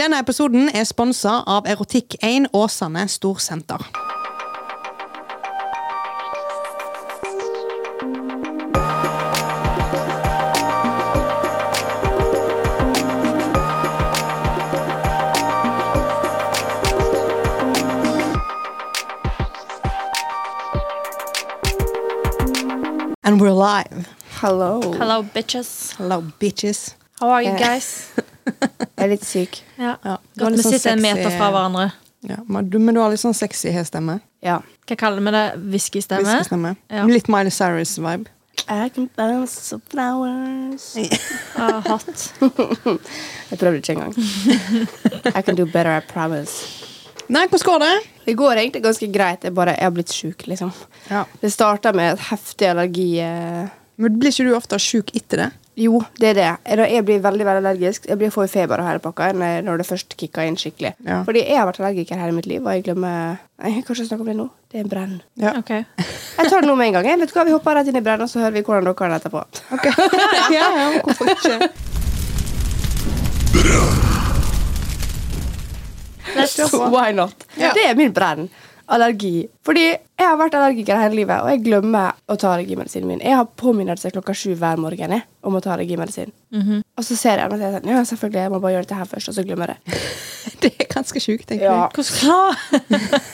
Denne episoden er sponsa av Erotikk1 Åsane Storsenter. And we're live. Hello. Hello, bitches. Hello, bitches. How are you Eh. guys? Jeg er litt syk. Ja. Ja, du har Godt litt vi sånn sitter en sexy- meter fra hverandre. Ja, men du, men du har litt sånn sexy stemme. Ja. Hva kaller vi det? Whiskystemme? Whiskystemme. Ja. Litt Miley Cyrus-vibe. I can bounce some flowers. Ah, hot. Jeg prøvde ikke engang. I can do better, I promise. Nei, hvordan går det? Det går egentlig ganske greit. Jeg, bare, jeg har blitt sjuk, liksom. Ja. Det starta med et heftig allergi... eh, Men Blir ikke du ofte sjuk etter det? Jo, det er det. Jeg- Jeg blir veldig veldig allergisk. Jeg blir får feber og hele pakka når når det først kicker inn skikkelig. Ja. Fordi jeg har vært allergiker hele mitt liv, og jeg glemmer Nei, Jeg kan ikke snakke om det nå. Det er en brenn. Ja. Ok. Jeg tar det nå med en gang. Jeg vet du hva, Vi hopper rett inn i brennen, og så hører vi hvordan dere har det etterpå. Ok. ja, ja, hvorfor ikke? Let's Why not? Ja. Det er min brenn. Allergi. Fordi jeg har vært allergiker hele livet, og jeg glemmer å ta allergimedisinen min. Jeg har påminnelse klokka sju hver morgen jeg, om å ta allergimedisin. Og så ser jeg meg og sier sånn, ja, selvfølgelig, jeg må bare gjøre dette her først, og så glemmer jeg det. Det er ganske sjukt, tenker Ja. jeg. Hvordan klar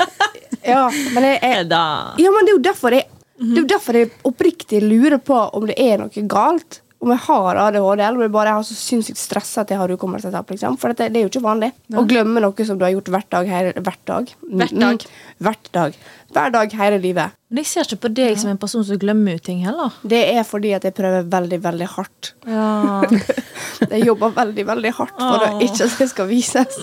Ja, men, jeg, er jeg, det? ja, men det er jo derfor jeg, det er jo derfor jeg oppriktig lurer på om det er noe galt. Om jeg har ADHD, eller om jeg bare har så sinnssykt stressa at jeg har hukommelsetap. Liksom. For dette, det er jo ikke vanlig å glemme noe som du har gjort hvert dag. Her, hvert dag. Hvert dag. Hvert dag. Hver dag hele livet. Men jeg ser ikke på deg som en person som glemmer ut ting heller. Det er fordi at jeg prøver veldig, veldig hardt. Ja. Jeg jobber veldig, veldig hardt for å Åh. ikke at det skal vises.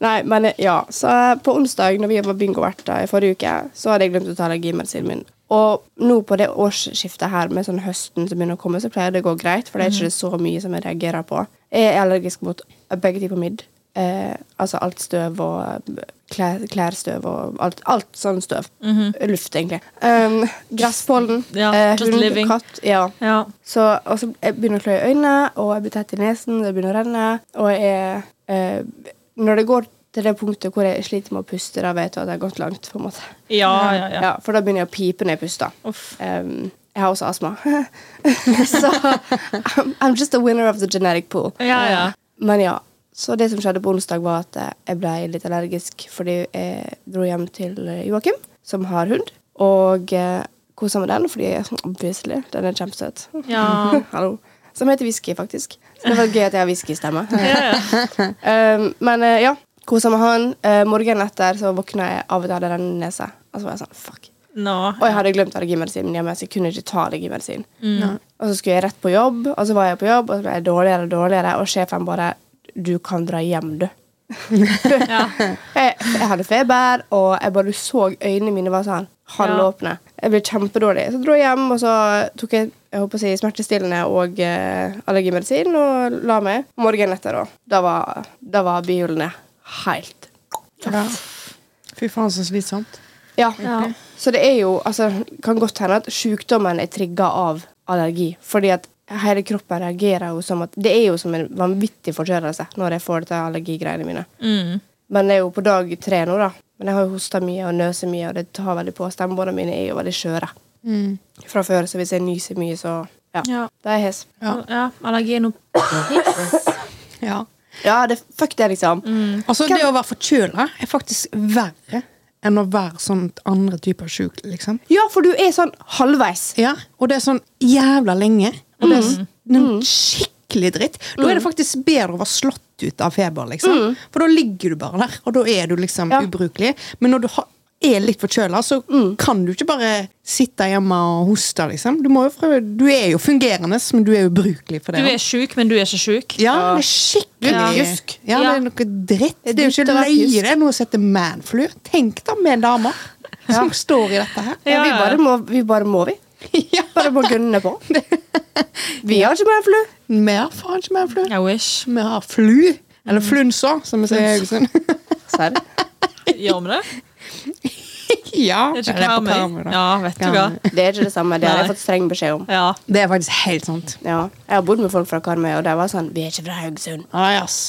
Nei, men eh, ja. Så eh, på onsdag når vi var bingoverter i forrige uke, så hadde jeg glemt å ta allergimedisinen min. Og nå på det årsskiftet her med sånn høsten som begynner å komme, så pleier det å gå greit, for det er Mhm. ikke så mye som jeg reagerer på. Jeg er allergisk mot begge typer midd. Eh, altså alt støv og eh, klær, klærstøv og alt, alt sånn støv. Luft, egentlig. Um, gresspollen. Mhm. Ja, eh, just hund, living. katt. Ja. ja. Så, og så jeg begynner å klø i øynene, og jeg blir tett i nesen, det begynner å renne. Og jeg, eh, når det går til det punktet hvor jeg sliter med å puste, da vet jeg at jeg har gått langt. på en måte. Ja, ja, ja. Ja, for da begynner jeg å pipe når jeg puster. Uff. Um, jeg har også astma. så I'm, I'm just a winner of the genetic pool. Ja, ja. Men ja. Så det som skjedde på onsdag, var at eh, jeg ble litt allergisk fordi jeg dro hjem til eh, Joakim, som har hund, og eh, kosa med den fordi sånn, obviously, den er kjempesøt. Ja. Hallo. Som heter Whisky, faktisk. Så det var gøy at jeg har whisky-stemme. Ja, ja. um, men eh, ja, kosa med han. Eh, morgenen etter så våkna jeg av at jeg hadde rennende nese. Og så var jeg sånn, fuck. Nå. Og jeg hadde glemt allergimedisinen hjemme, så jeg kunne ikke ta allergimedisin. Mm. Og så skulle jeg rett på jobb, og så var jeg på jobb, og så ble jeg dårligere og dårligere, og sjefen bare Du kan dra hjem, du. Ja. Jeg, jeg hadde feber, og jeg bare så øynene mine var sånn halvåpne. Jeg ble kjempedårlig. Så dro jeg hjem, og så tok jeg, jeg håper å si, smertestillende og eh, allergimedisin og la meg. Morgenen etter, da. Da var, da var bihulene helt Ja. Fy faen, så slitsomt. ja. Ja. Så det er jo altså, Kan godt hende at sykdommen er trigga av allergi. Fordi at hele kroppen reagerer jo som at Det er jo som en vanvittig forkjølelse når jeg får dette allergigreiene mine. Mm. Men det er jo på dag tre nå, da. Men jeg har jo hosta mye og nøser mye, og det tar veldig på. Stemmebåndene mine er jo veldig skjøre fra før, så hvis jeg nyser mye, så Mm. Ja. Ja. Det er hes. ja. Allergi er noe Ja. Ja, det, fuck det, liksom. Altså, det å være forkjøla er faktisk verre enn å være sånn andre typer sjuk, liksom. Ja, for du er sånn halvveis. Ja, og det er sånn jævla lenge. Og det er s- en skikkelig dritt. Da er det faktisk bedre å være slått ut av feber, liksom. For da ligger du bare der, og da er du liksom Ja. ubrukelig. Men når du ha, er litt forkjøla, så kan du ikke bare sitte hjemme og hoste, liksom. Du, må jo prøve, du er jo fungerende, men du er ubrukelig for Du det. er sjuk, men du er ikke sjuk. ja, det er skikkelig Ja. pjusk. Ja, det er noe dritt. Det Det er er jo ikke dritt å være løye, pjusk. det er noe som heter manflu. Tenk da med damer som står i dette her. Ja, vi, bare må, vi bare må, vi. Ja. Bare må gunne på. Vi har ikke mer flu. Mer faen ikke manflu. I wish. Vi har flu. Mm. Eller flunsa, som vi sier i Haugesund. Serr? Gjør vi det? ja, Er det ikke er på karmøy? Karmøy, da. Ja, vet du hva. Karmøy. Det er ikke det samme. Det har jeg Nei. fått streng beskjed om. Ja. Det er faktisk helt sant. Ja. Jeg har bodd med folk fra Karmøy, og de var sånn Vi er ikke fra Haugesund. Nei, ass.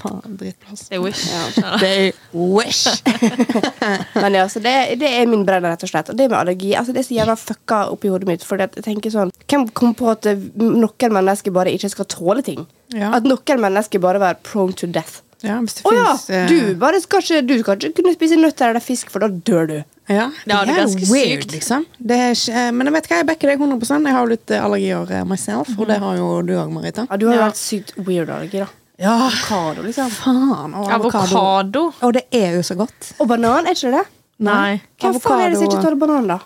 Faen, drittplass. Jeg wish. Ja. sånn. They wish! Men ja, så det, det er min brenn, rett og slett. Og det med allergi altså det er så jævla fucka oppi hodet mitt. Fordi at jeg tenker sånn Hvem kom på at eh, noen mennesker bare ikke skal tåle ting? Ja. At noen mennesker bare være prone to death. Ja, hvis det Å ja! finnes, eh, Du, bare skal ikke, du skal ikke kunne spise nøtter eller fisk, for da dør du. Ja, det Ja, det er er ganske weird, sykt. liksom. Det er ikke, eh, men jeg vet hva, jeg backer deg 100 Jeg har jo litt eh, allergier eh, myself, og det Mm. har jo du òg, Marita. Ja, Du har jo Ja. vært sykt weird allergi, da. Ja, Avokado, liksom. faen. Og avokado. Avokado? Og det er jo så godt. Og banan, er ikke det? Nei. Hvem faen er det som ikke Avokado- tåler banan, da?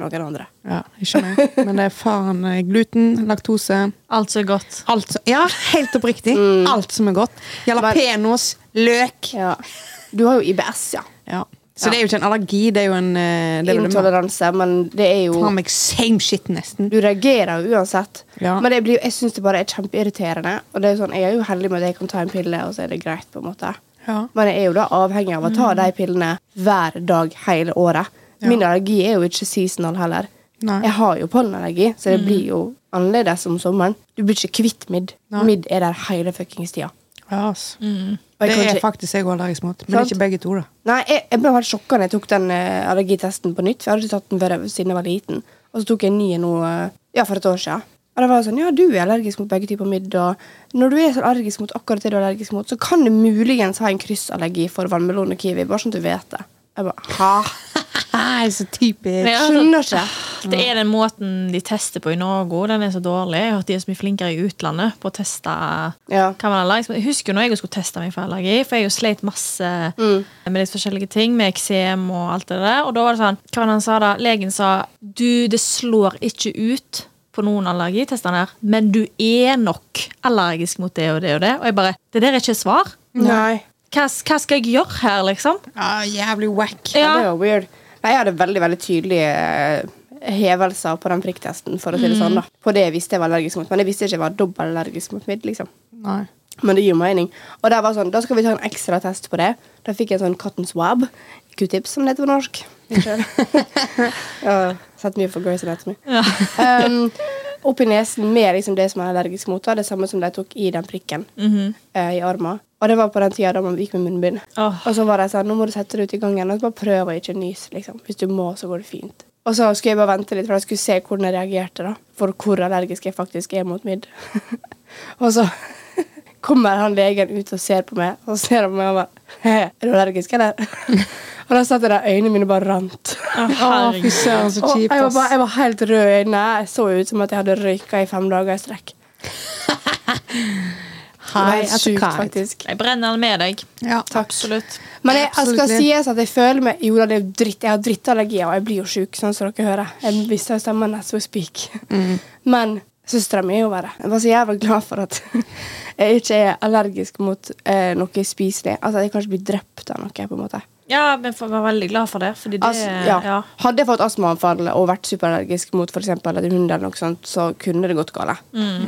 Noen andre. Ja, ikke meg. Men det er faen eh, gluten, laktose Alt som er godt. Alt som, ja, helt oppriktig. Alt som er godt. Jalapeños, løk. Ja. Du har jo IBS, ja. Ja. Så det er jo ikke en allergi, det er jo en eh, det er vel det man- Intoleranse, men det er jo Faen meg same shit, nesten. Du reagerer jo uansett. Ja. Men det blir, jeg syns det bare er kjempeirriterende. Og det er sånn, jeg er jo heldig med at jeg kan ta en pille, og så er det greit. på en måte. Ja. Men jeg er jo da avhengig av å Mm. ta de pillene hver dag hele året. Min allergi er jo ikke seasonal heller. Nei. Mm. Jeg har jo pollenallergi, så det blir jo annerledes om sommeren. Du blir ikke kvitt midd. Nei. Midd er der hele fuckings tida. Ja, ass. Og jeg Det kan er ikke- faktisk jeg òg allergisk mot, men Sant? ikke begge to, da. Nei, jeg, jeg ble helt sjokka da jeg tok den eh, allergitesten på nytt. For jeg hadde ikke tatt den før jeg- siden jeg var liten. Og så tok jeg en ny nå eh, ja, for et år siden. Og det var sånn, ja, du er allergisk mot begge typer midd. Og når du er så allergisk mot akkurat det du er allergisk mot, så kan du muligens ha en kryssallergi for vannmelon og kiwi. Bare sånn at du vet det. Jeg bare, hæ? Nei, så typisk. Ja. Skjønner ikke. Det er den måten de tester på i Norge. Den er så dårlig. Jeg har hørt de er så mye flinkere i utlandet på å teste Ja. hva man er allergisk mot. Jeg husker jo når jeg skulle teste meg for allergi, for jeg har jo sleit masse Mm. med litt forskjellige ting, med eksem og alt det der. Og da var det sånn, hva var det han sa da? Legen sa du, det slår ikke ut på noen allergitestene her, men du er nok allergisk mot det og det og det. Og jeg bare, det der er ikke et svar. Nei. Hva, hva skal jeg gjøre her, liksom? Ja, jævlig wack. Ja. Det Ja, var weird. Nei, jeg hadde veldig veldig tydelige eh, hevelser på den prikktesten. for å si det Mm. sånn da. På det jeg visste jeg var allergisk mot. Men jeg visste ikke jeg var dobbeltallergisk mot midd. liksom. Nei. Men det gir jo mening. Og der var sånn, da skal vi ta en ekstra test på det. Da fikk jeg en sånn cotton swab. Q-tips, som det heter på norsk. Jeg har sett mye på Grace Anatomy. Ja. Um, opp i nesen med liksom det som jeg er allergisk mot. da. Det samme som de tok i den prikken Mhm. eh, i armen. Og det var på den tida da man gikk med munnbind. Åh. Og så var de sånn, nå må du sette det ut i gangen og så bare prøv å ikke nyse. liksom. Hvis du må, så går det fint. Og så skulle jeg bare vente litt, for jeg skulle se hvordan jeg reagerte. da. For hvor allergisk jeg faktisk er mot midd. og så kommer han legen ut og ser på meg, og så ser han på meg og bare «He, Er du allergisk, eller? og da satt jeg der, øynene mine bare rant. Å, Å, fy herregud. søren, så Og jeg kjipt, var, bare, ass. jeg var helt rød i øynene. Jeg så ut som at jeg hadde røyka i fem dager i strekk. Det var Hei, helt etter sjukt, hva? faktisk. Jeg brenner den med deg. Ja. Absolutt. Men jeg, jeg skal Absolutt. sies at jeg føler meg Jo da, det er jo dritt. Jeg har drittallergier, og jeg blir jo sjuk, sånn som dere hører. Jeg mister jo stemmen as we speak. Men søstera mi er jo verre. Jeg var så jævla glad for at jeg ikke er allergisk mot eh, noe spiselig. Altså, jeg kan ikke bli drept av noe, på en måte. Ja, men jeg var veldig glad for det. Fordi det Altså, ja. ja. Hadde jeg fått astmaanfall og vært superallergisk mot f.eks. en hund, eller noe sånt, så kunne det gått galt.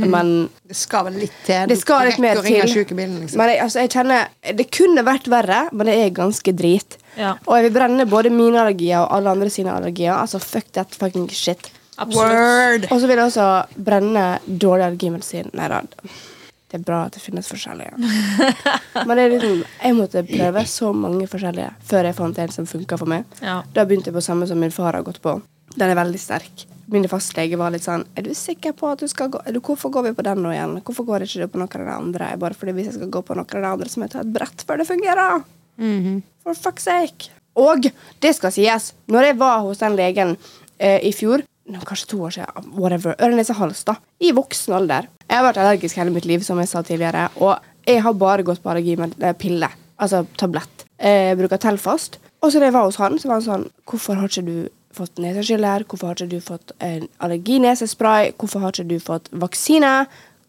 Men Det skal vel litt til. det skal litt mer til. Sykebilen, liksom. Men jeg, altså, jeg kjenner, Det kunne vært verre, men det er ganske drit. Ja. Og jeg vil brenne både mine allergier og alle andre sine allergier. Altså, fuck that fucking shit. Absolutt. Word! Og så vil jeg også brenne dårlig allergimedisin. Nei da. Det er bra at det finnes forskjellige. Men det er liksom, jeg måtte prøve så mange forskjellige før jeg fant en som funka for meg. Ja. Da begynte jeg på samme som min far har gått på. Den er veldig sterk. Min fastlege var litt sånn Er du sikker på at du skal gå er du, Hvorfor går vi på den nå igjen? Hvorfor går ikke du på noen av de andre? Jeg bare fordi hvis jeg skal gå på noen av de andre, så må jeg ta et brett før det fungerer. For fuck's sake. Og det skal sies, når jeg var hos den legen eh, i fjor nå, Kanskje to år siden. Whatever. Øre-nese-hals, da. I voksen alder. Jeg har vært allergisk hele mitt liv, som jeg sa tidligere. Og jeg har bare gått på allergi med eh, pille. Altså tablett. Eh, Jeg bruker Telfast. Og så da jeg var hos han, så var han sånn Hvorfor har ikke du fått neseskyller? Hvorfor har ikke du fått eh, allerginesespray? Hvorfor har ikke du fått vaksine?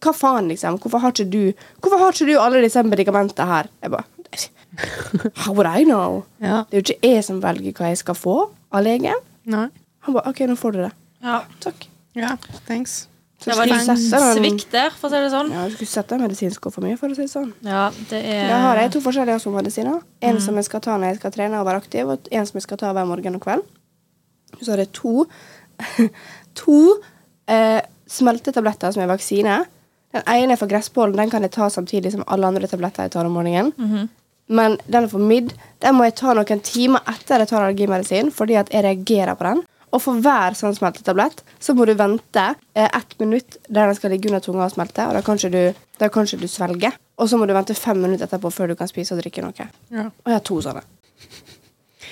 Hva faen, liksom? Hvorfor har ikke du Hvorfor har ikke du alle disse medikamentene her? Jeg bare How would I know? Ja. Det er jo ikke jeg som velger hva jeg skal få av legen. Nei. Han bare OK, nå får du det. Ja. Takk. Ja, thanks. Så Det var skulle litt jeg sette den- svikt der, for å si det sånn. Ja, du skulle sette den medisinskål for mye, for å si det sånn. Ja, Mm. det er Da har jeg to forskjellige astmamedisiner. En som jeg skal ta når jeg skal trene og være aktiv, og en som jeg skal ta hver morgen og kveld. Så har jeg to To eh, smeltetabletter som er vaksine. Den ene for gresspollen den kan jeg ta samtidig som alle andre tabletter jeg tar om morgenen. Mhm. Men den for midd den må jeg ta noen timer etter jeg tar allergimedisin, fordi at jeg reagerer på den. Og for hver sånn smeltetablett så må du vente eh, ett minutt der den skal ligge under tunga og smelte, og da kan ikke du, da kan ikke du svelge. Og så må du vente fem minutter etterpå før du kan spise og drikke noe. Ja. Og jeg har to sånne.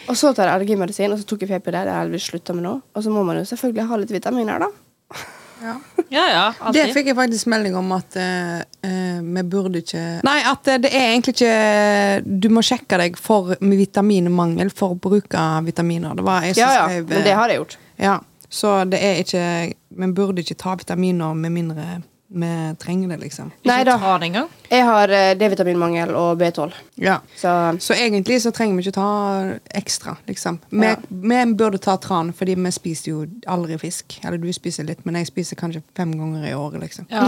Og så tar jeg allergimedisin, og så tok jeg p-piller. Det har jeg heldigvis slutta med nå. Og så må man jo selvfølgelig ha litt vitaminer, da. Ja, ja, Det alltid. fikk jeg faktisk melding om at eh, eh, vi burde ikke Nei, at eh, det er egentlig ikke Du må sjekke deg for med vitaminmangel for å bruke vitaminer. Det var jeg som Ja, ja, skrev, eh, men det har jeg gjort. ja. Så det er ikke Vi burde ikke ta vitaminer med mindre vi trenger det, liksom. Ikke Nei da. ta det engang. Jeg har eh, D-vitaminmangel og B12. Ja. Så Så egentlig så trenger vi ikke ta ekstra, liksom. Vi, Ja. vi burde ta tran, fordi vi spiser jo aldri fisk. Eller du spiser litt, men jeg spiser kanskje fem ganger i året, liksom. Ja.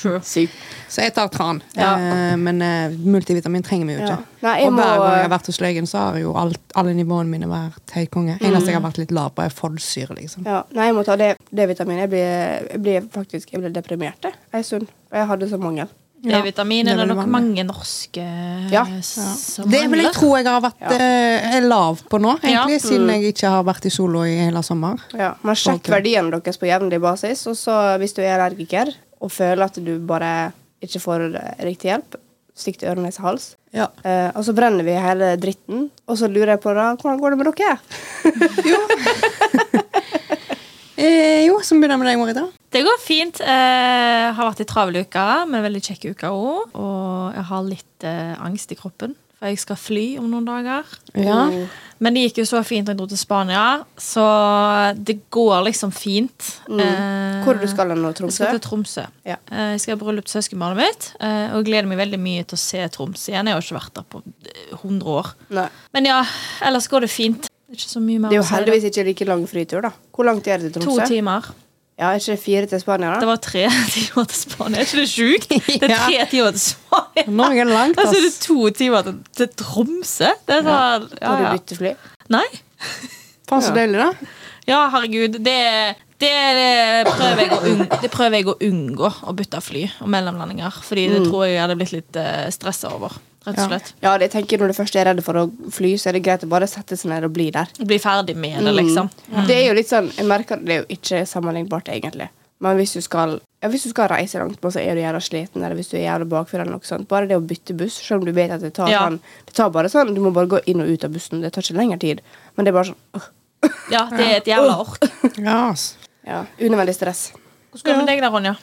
true. sykt. Så jeg tar tran. Ja. Eh, men eh, multivitamin trenger vi jo Ja. ikke. Nei, jeg og hver må- gang jeg har vært hos legen, så har jo alt, alle nivåene mine vært høy konge. Eneste jeg har vært litt lav på, er foldsyre, liksom. Mm. Ja, nei, jeg må ta D- D-vitamin. Jeg, blir- jeg blir faktisk jeg blir deprimert jeg, en stund. Og jeg hadde så mangel. Ja, D-vitamin det er er vel det nok vanlig. mange norske eh, Ja. som Det vil jeg mangler. tro jeg har vært eh, er lav på nå, egentlig, Mm. Ja. siden jeg ikke har vært i sola i hele sommer. Ja, men sjekk Alltid. verdiene deres på jevnlig basis. Og så hvis du er allergiker og føler at du bare ikke får eh, riktig hjelp, stikk til øre, nese, hals. Ja. Eh, og så brenner vi hele dritten, og så lurer jeg på da, hvordan går det med dere? Eh, jo, så begynner jeg med deg, Marita. Det går fint. Eh, har vært i travel uke, men veldig kjekk uke òg. Og jeg har litt eh, angst i kroppen, for jeg skal fly om noen dager. Ja. Men det gikk jo så fint da jeg dro til Spania, så det går liksom fint. Eh, Mm. Hvor du skal hen nå, Jeg skal Tromsø? til Tromsø. Ja. Eh, Jeg skal ha bryllup til søskenbarnet mitt, eh, og jeg gleder meg veldig mye til å se Troms igjen. Jeg har jo ikke vært der på eh, 100 år. Nei. Men ja, ellers går det fint. Det er ikke så mye mer Det er jo å si. heldigvis ikke like lang fritur, da. Hvor langt er det til To Tromsø? timer. Ja, er ikke det fire til Spania, Det da? var tre timer til Spania. Er ikke det sjukt? Det er Ja. tre timer til Spania. Norge er langt, Altså, det er ass. to timer til, til Tromsø? Det er sånn ja, Har du ja. byttet fly? Nei? Faen, så deilig, da. Ja, herregud. Det, det, det, prøver jeg å unng- det prøver jeg å unngå, å bytte fly og mellomlandinger. Fordi det tror jeg jeg hadde blitt litt uh, stressa over. Rett og Ja. slett. Ja, det jeg tenker Når du først er redd for å fly, så er det greit å bare sette seg ned og bli der. Bli ferdig med det, liksom. Det er jo litt sånn, jeg merker at Det er jo ikke sammenlignbart, egentlig. Men hvis du skal, ja, hvis du skal reise langt, men så er du jævla sliten, eller hvis du er jævla bakfull, eller noe sånt, bare det å bytte buss, selv om du vet at det tar Ja. sånn Det tar bare sånn, Du må bare gå inn og ut av bussen. Det tar ikke lengre tid. Men det er bare sånn åh, Ja, det er et jævla ork. Ja, ass. ja, Unødvendig stress. Hvordan går det med deg da, Ronja?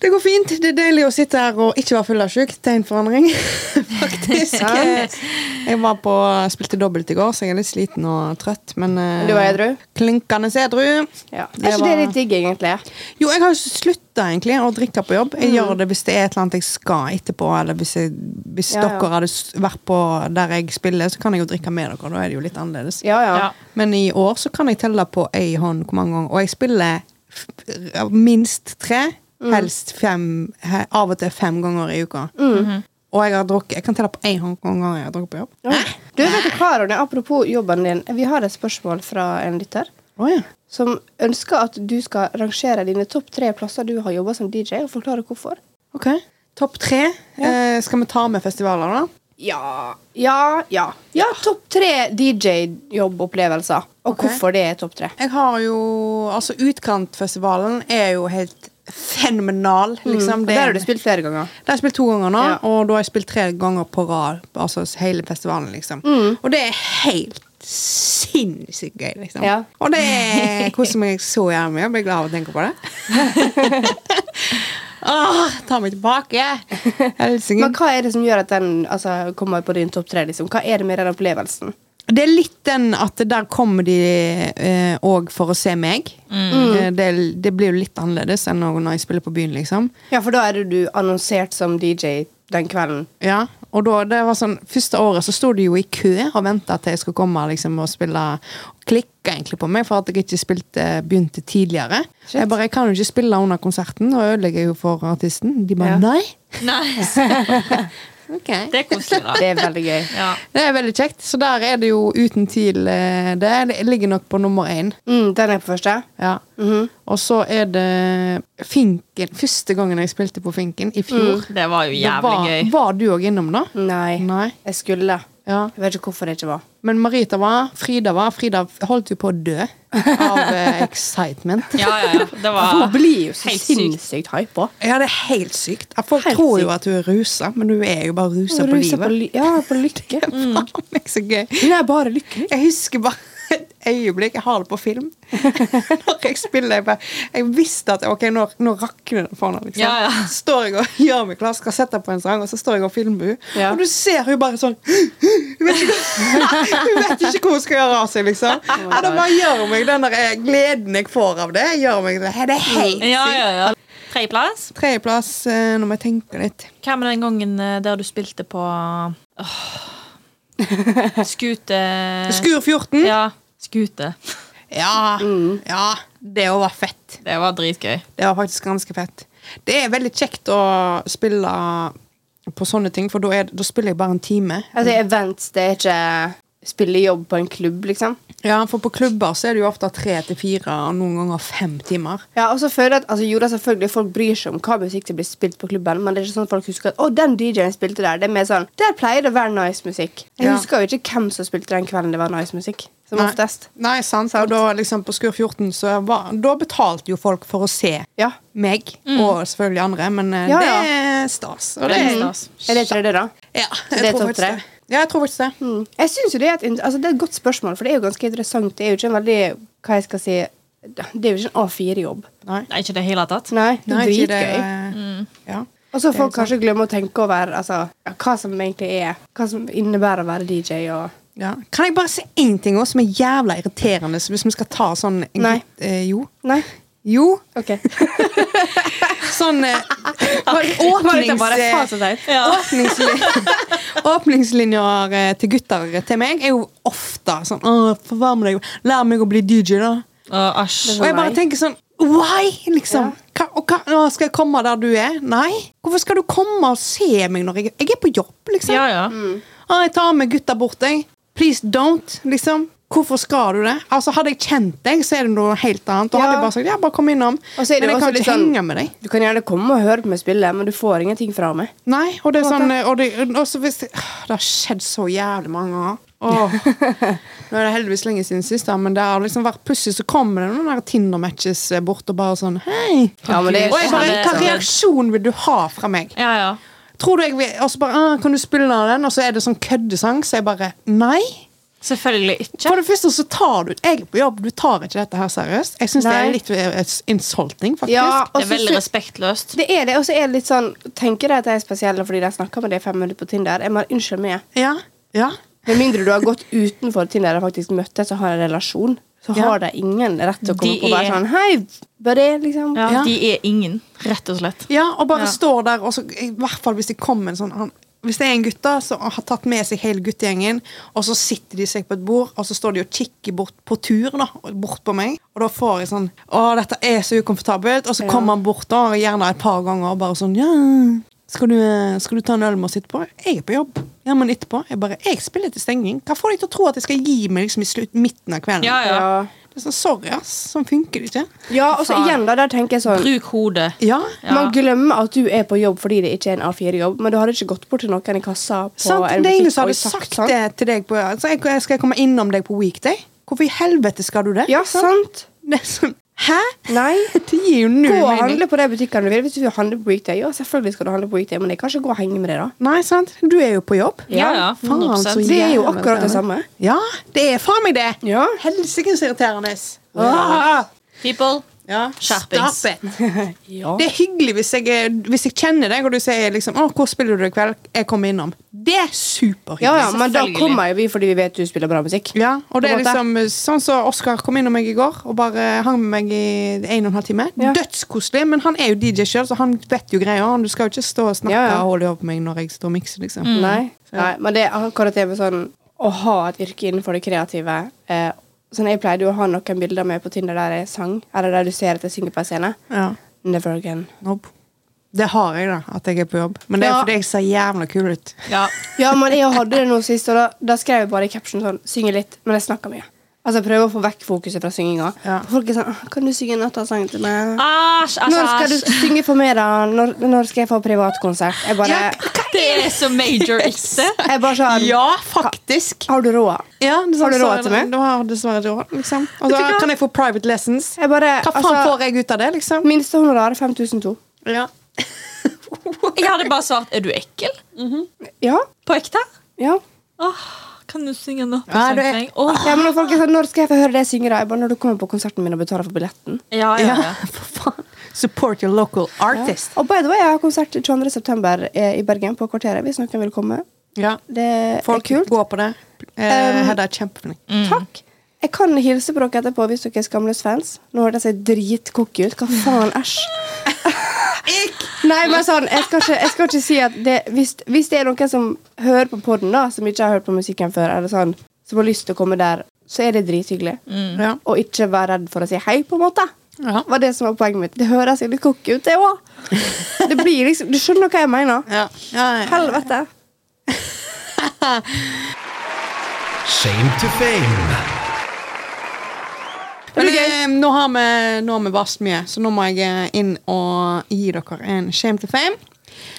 Det går fint. Det er deilig å sitte her og ikke være fyllesyk. Tegn for forandring, faktisk. Eh, Jeg var på, spilte dobbelt i går, så jeg er litt sliten og trøtt. Men eh, Du var edru? klinkende edru. Ja. Det Er ikke var- det litt digg, egentlig? Jo, jeg har jo slutta egentlig å drikke på jobb. Mm. Jeg gjør det hvis det er et eller annet jeg skal etterpå, eller hvis, jeg, hvis Ja, ja. dere hadde s- vært på der jeg spiller, så kan jeg jo drikke med dere. Da er det jo litt annerledes. Ja, ja. Ja. Men i år så kan jeg telle på ei hånd hvor mange ganger. Og jeg spiller f- f- minst tre, helst fem, he, av og til fem ganger i uka. Og jeg har drukket Jeg kan telle på én hånd hvor mange ganger jeg har drukket på jobb. Ja. Du vet du hva, Ronny, Apropos jobben din. Vi har et spørsmål fra en lytter Å ja. som ønsker at du skal rangere dine topp tre plasser du har jobba som DJ, og forklare hvorfor. Ok. Topp tre. Eh, skal vi ta med festivaler, da? Ja, ja, ja. Ja, Topp tre DJ-jobbopplevelser, og Ok. hvorfor det er topp tre. Jeg har jo Altså, Utkantfestivalen er jo helt fenomenal, liksom. Og Det Der har er du spilt flere ganger. Det har jeg spilt to ganger nå, Ja. og da har jeg spilt tre ganger på rad. Altså hele festivalen, liksom. Mm. Og det er helt sinnssykt gøy, liksom. Ja. Og det er koser meg så gjerne med. Jeg blir glad av å tenke på det. Åh, ta meg tilbake! Helsingen. Men hva er det som gjør at den altså, kommer på din topp tre? Liksom? Hva er det med den opplevelsen? Det er litt den at der kommer de òg for å se meg. Mm. Eh, det, det blir jo litt annerledes enn når når jeg spiller på byen, liksom. Ja, for da er det du annonsert som DJ den kvelden. Ja, og da, det var sånn, Første året så sto de jo i kø og venta til jeg skulle komme liksom, og spille. Og klikka egentlig på meg for at jeg ikke spilte, begynte tidligere. Shit. Jeg bare, jeg kan jo ikke spille under konserten, og ødelegger jo for artisten. De bare Ja. nei. Nice. Ok. Det er koselig, da. Det er veldig gøy. Ja. Det er veldig kjekt. Så der er det jo uten tvil eh, det. Det ligger nok på nummer én. Mm, den er på første. Ja. Mhm. Og så er det Finken. Første gangen jeg spilte på Finken, i fjor. Mm. Det var jo Da jævlig var, gøy. Mm. var du òg innom, da? Nei. Nei. Jeg skulle. Ja. Jeg vet ikke hvorfor det ikke var. Men Marita var, Frida var. Frida holdt jo på å dø av eh, excitement. Ja, ja, ja. Det Hun var blir jo så helt sykt. sinnssykt hypa. Ja, det er helt sykt. Folk Helt tror jo sykt. at du er rusa, men du er jo bare rusa på Ruset livet. ly- ja, på lykke. Faen meg så gøy. Hun er bare lykkelig. Jeg husker bare et øyeblikk, jeg har det på film. Når jeg spiller, jeg, bare, jeg visste at ok, nå, nå rakner det for henne. Liksom. Ja, ja. Står jeg og gjør meg klar, skal sette på en sang, og så står jeg og filmer henne. Ja. Og du ser hun bare sånn Hun vet ikke, hun vet ikke hvor hun skal gjøre av seg, liksom. Oh Ja, det bare gjør meg den der eh, gleden jeg får av det. gjør meg Det det er helt Mm. Ja, sykt. ja, ja. Tredjeplass. Tredjeplass, eh, når jeg tenker litt. Hva med den gangen eh, der du spilte på Åh Skute Skur 14. Ja. Mm. Skute. Ja. ja. Det òg var fett. Det var dritgøy. Det var faktisk ganske fett. Det er veldig kjekt å spille på sånne ting, for da, er, da spiller jeg bare en time. Altså, events, det er ikke spille jobb på en klubb, liksom. Ja, For på klubber så er det jo ofte tre til fire, og noen ganger fem timer. Ja, og så føler jeg at, altså, jo da selvfølgelig Folk bryr seg om hva musikk som blir spilt på klubben, men det er ikke sånn at folk husker at 'Å, den DJ-en spilte der.' Det er mer sånn Der pleier det å være nice musikk. Jeg Ja. husker jo ikke hvem som spilte den kvelden det var nice musikk. Som Nei. oftest. Nei, sant? Og da liksom på Skur 14 så var, da betalte jo folk for å se Ja. meg, og selvfølgelig andre, men eh, Ja, det er stas. Og Mm. det Veldig er, stas. Mm. Er det tredje, da? ja, jeg det er tror topp faktisk tre? det. Ja, jeg tror faktisk det. Mm. Jeg synes jo det, er et, int- altså, det er et godt spørsmål, for det er jo ganske interessant. Det er jo ikke en veldig Hva jeg skal si Det er jo ikke en A4-jobb. Nei. Nei, ikke i det hele tatt. Nei, det er Nei, ikke det, dritgøy. eh, Ja. Og så folk kanskje glemmer å tenke over altså, ja, hva som egentlig er Hva som innebærer å være DJ. Og, Ja. Kan jeg bare si én ting også, som er jævla irriterende, så hvis vi skal ta sånn Nei. Eh, jo. nei. Jo. OK. Sånn eh, Marita bare, faen åpnings, så teit. Ja. åpningslinjer, åpningslinjer eh, til gutter til meg er jo ofte sånn Åh, forvarm deg. Lær meg å bli DJ, da. Åh, æsj. Og jeg bare Nei. tenker sånn Why? Liksom. Hva, og hva, nå skal jeg komme der du er? Nei. Hvorfor skal du komme og se meg når jeg Jeg er på jobb, liksom. Ja, ja. Ah, jeg tar med gutta bort, jeg. Please don't, liksom. Hvorfor skal du det? Altså, Hadde jeg kjent deg, så er det noe helt annet. Da Ja. hadde jeg bare sagt ja, bare kom innom. Og så er det Men jeg også kan litt ikke sånn- henge med deg. Du kan gjerne komme og høre på meg spille, men du får ingenting fra meg. Nei, og det er På en sånn og det, og så hvis, Åh, det har skjedd så jævlig mange ganger. Åh. Nå er det heldigvis lenge siden sist, da, men det har liksom vært plutselig så kommer det noen der Tinder-matches bort og bare sånn Hei! Ja, men det er- og jeg bare, Ja, det er Hva sånn. reaksjon vil du ha fra meg? Ja, ja. Tror du jeg vil, Og så bare «Ah, Kan du spille den? Og så er det sånn køddesang, så jeg bare Nei! Selvfølgelig ikke. For det første så tar du Jeg er på jobb, du tar ikke dette her seriøst. Jeg syns det Nei. er litt eh, insulting, faktisk. Ja, Det er og så veldig sy- respektløst. det er det, og så er det litt sånn Tenker de at jeg er spesiell fordi de snakker med deg i fem minutter på Tinder? Jeg bare, unnskyld meg. Ja. ja. Med mindre du har gått utenfor Tinder og faktisk møttes og har en relasjon, så Ja. har de ingen rett til å komme De på og være er- sånn Hei, buddy, liksom. Ja, Ja. De er ingen, rett og slett. Ja, og bare Ja. står der, og så, i hvert fall hvis det kommer en sånn han, Hvis det er en gutt da, som har tatt med seg hele guttegjengen, og så sitter de seg på et bord, og så står de og kikker bort på tur, da, bort på meg, og da får jeg sånn Å, dette er så ukomfortabelt. Og så Ja. kommer han bort da, gjerne et par ganger, og bare sånn Ja, skal du, eh, skal du ta en øl med oss etterpå? Jeg er på jobb. Ja, men etterpå? Jeg bare Jeg spiller til stenging. Hva får deg til å tro at jeg skal gi meg liksom i slutt, midten av kvelden? Ja, ja. Ja. Det er sånn, Sorry, ass. Sånn funker det ikke. Ja, og så Faen. igjen, da, der tenker jeg sånn Bruk hodet. Ja. Ja. Man glemmer at du er på jobb fordi det ikke er en A4-jobb, men du hadde ikke gått bort til noen i kassa på Sant, en det er ingen butikk som og hadde sagt det til deg på altså, jeg, jeg Skal jeg komme innom deg på weekday? Hvorfor i helvete skal du det? Ja, sant? Det er sånn, Hæ? Nei. Det gir jo Gå null og mening. handle på de butikkene du vil. Hvis du vil handle på weekday, ja, selvfølgelig skal du handle på weekday, men jeg kan ikke gå og henge med deg, da. Nei, sant? Du er jo på jobb. Ja, ja. Faen, altså, så 100%. Det er jo jævlig akkurat det irriterende. samme. Ja, det er faen meg det. Ja. Helsikens irriterende. Ja. Ah. People. Ja. Skjerpings. Stop it. Ja. Det er hyggelig hvis jeg, er- hvis jeg kjenner deg og du sier liksom, å, 'Hvor spiller du i kveld?' Jeg kommer innom. Det er superhyggelig. ja, ja, men da Selvfølgelig. kommer jo vi fordi vi vet du spiller bra musikk. Ja, og det På er en måte. liksom sånn som Oskar kom innom meg i går og bare hang med meg i en og en halv time. Ja. Dødskoselig, men han er jo DJ sjøl, så han vet jo greia. Du skal jo ikke stå og snakke Ja, ja. Mm. og holde i hånd på meg når jeg står og mikser, liksom. Nei. Nei, men det er akkurat det med sånn å ha et yrke innenfor det kreative. Eh, sånn Jeg pleide jo å ha noen bilder med på Tinder der jeg sang, eller der du ser at jeg synger på en scene. Ja. Never again. Nope. Det har jeg, da. At jeg er på jobb. Men det er Ja. fordi jeg ser jævla kul ut. Ja. Ja, men jeg hadde det nå sist, og da, da skrev jeg bare i caption sånn Synger litt, men jeg snakker mye. Altså jeg prøver å få vekk fokuset fra synginga. Ja. Folk er sånn «Ah, Kan du synge en nattasang til meg? Æsj, æsj, altså, Når skal du æsj. synge for meg, da? Når, når skal jeg få privatkonsert? Jeg bare, Eh, Det er så major ikke. jeg bare sånn Ja, faktisk! Har du råd? Ja, du Har du sa råd det. til meg? Du har dessverre råd, liksom. Altså, Vet du hva? kan jeg få private lessons? Jeg bare Hva faen altså, får jeg ut av det, liksom? Minste honorar er 5002. Ja. Jeg hadde bare svart 'er du ekkel?' Ja. på ekte. Ja. Åh, kan du synge en Ja, nattasang du er- for meg? Åh, Ja, men når folk er sånn, Når skal jeg få høre det jeg synger, da? Jeg bare, når du kommer på konserten min og betaler for billetten. ja, ja, ja. Ja, for faen. Support your local artist. Og by the way, jeg har konsert 22. september eh, i Bergen, på Kvarteret, hvis noen vil komme. Ja. Det Folk er kult. går Mm. på det. Eh, Hedda er kjempeflink. Takk. Jeg kan hilse på dere etterpå hvis dere er skamløs fans. Nå hørtes jeg dritcocky ut. Hva faen, æsj. Nei, men sånn, jeg skal ikke, jeg skal ikke si at det, hvis, hvis det er noen som hører på podden da, som ikke har hørt på musikken før, eller sånn, som har lyst til å komme der, så er det drithyggelig. Ja. Og ikke være redd for å si hei, på en måte. Ja. var det som var poenget mitt. Det høres jo litt cocky ut, det òg. Det blir liksom Du skjønner hva jeg mener? Ja. Ja, ja. Helvete. Shame to fame. Men eh, nå har vi, nå har vi vast mye, så nå må jeg eh, inn og gi dere en shame to fame.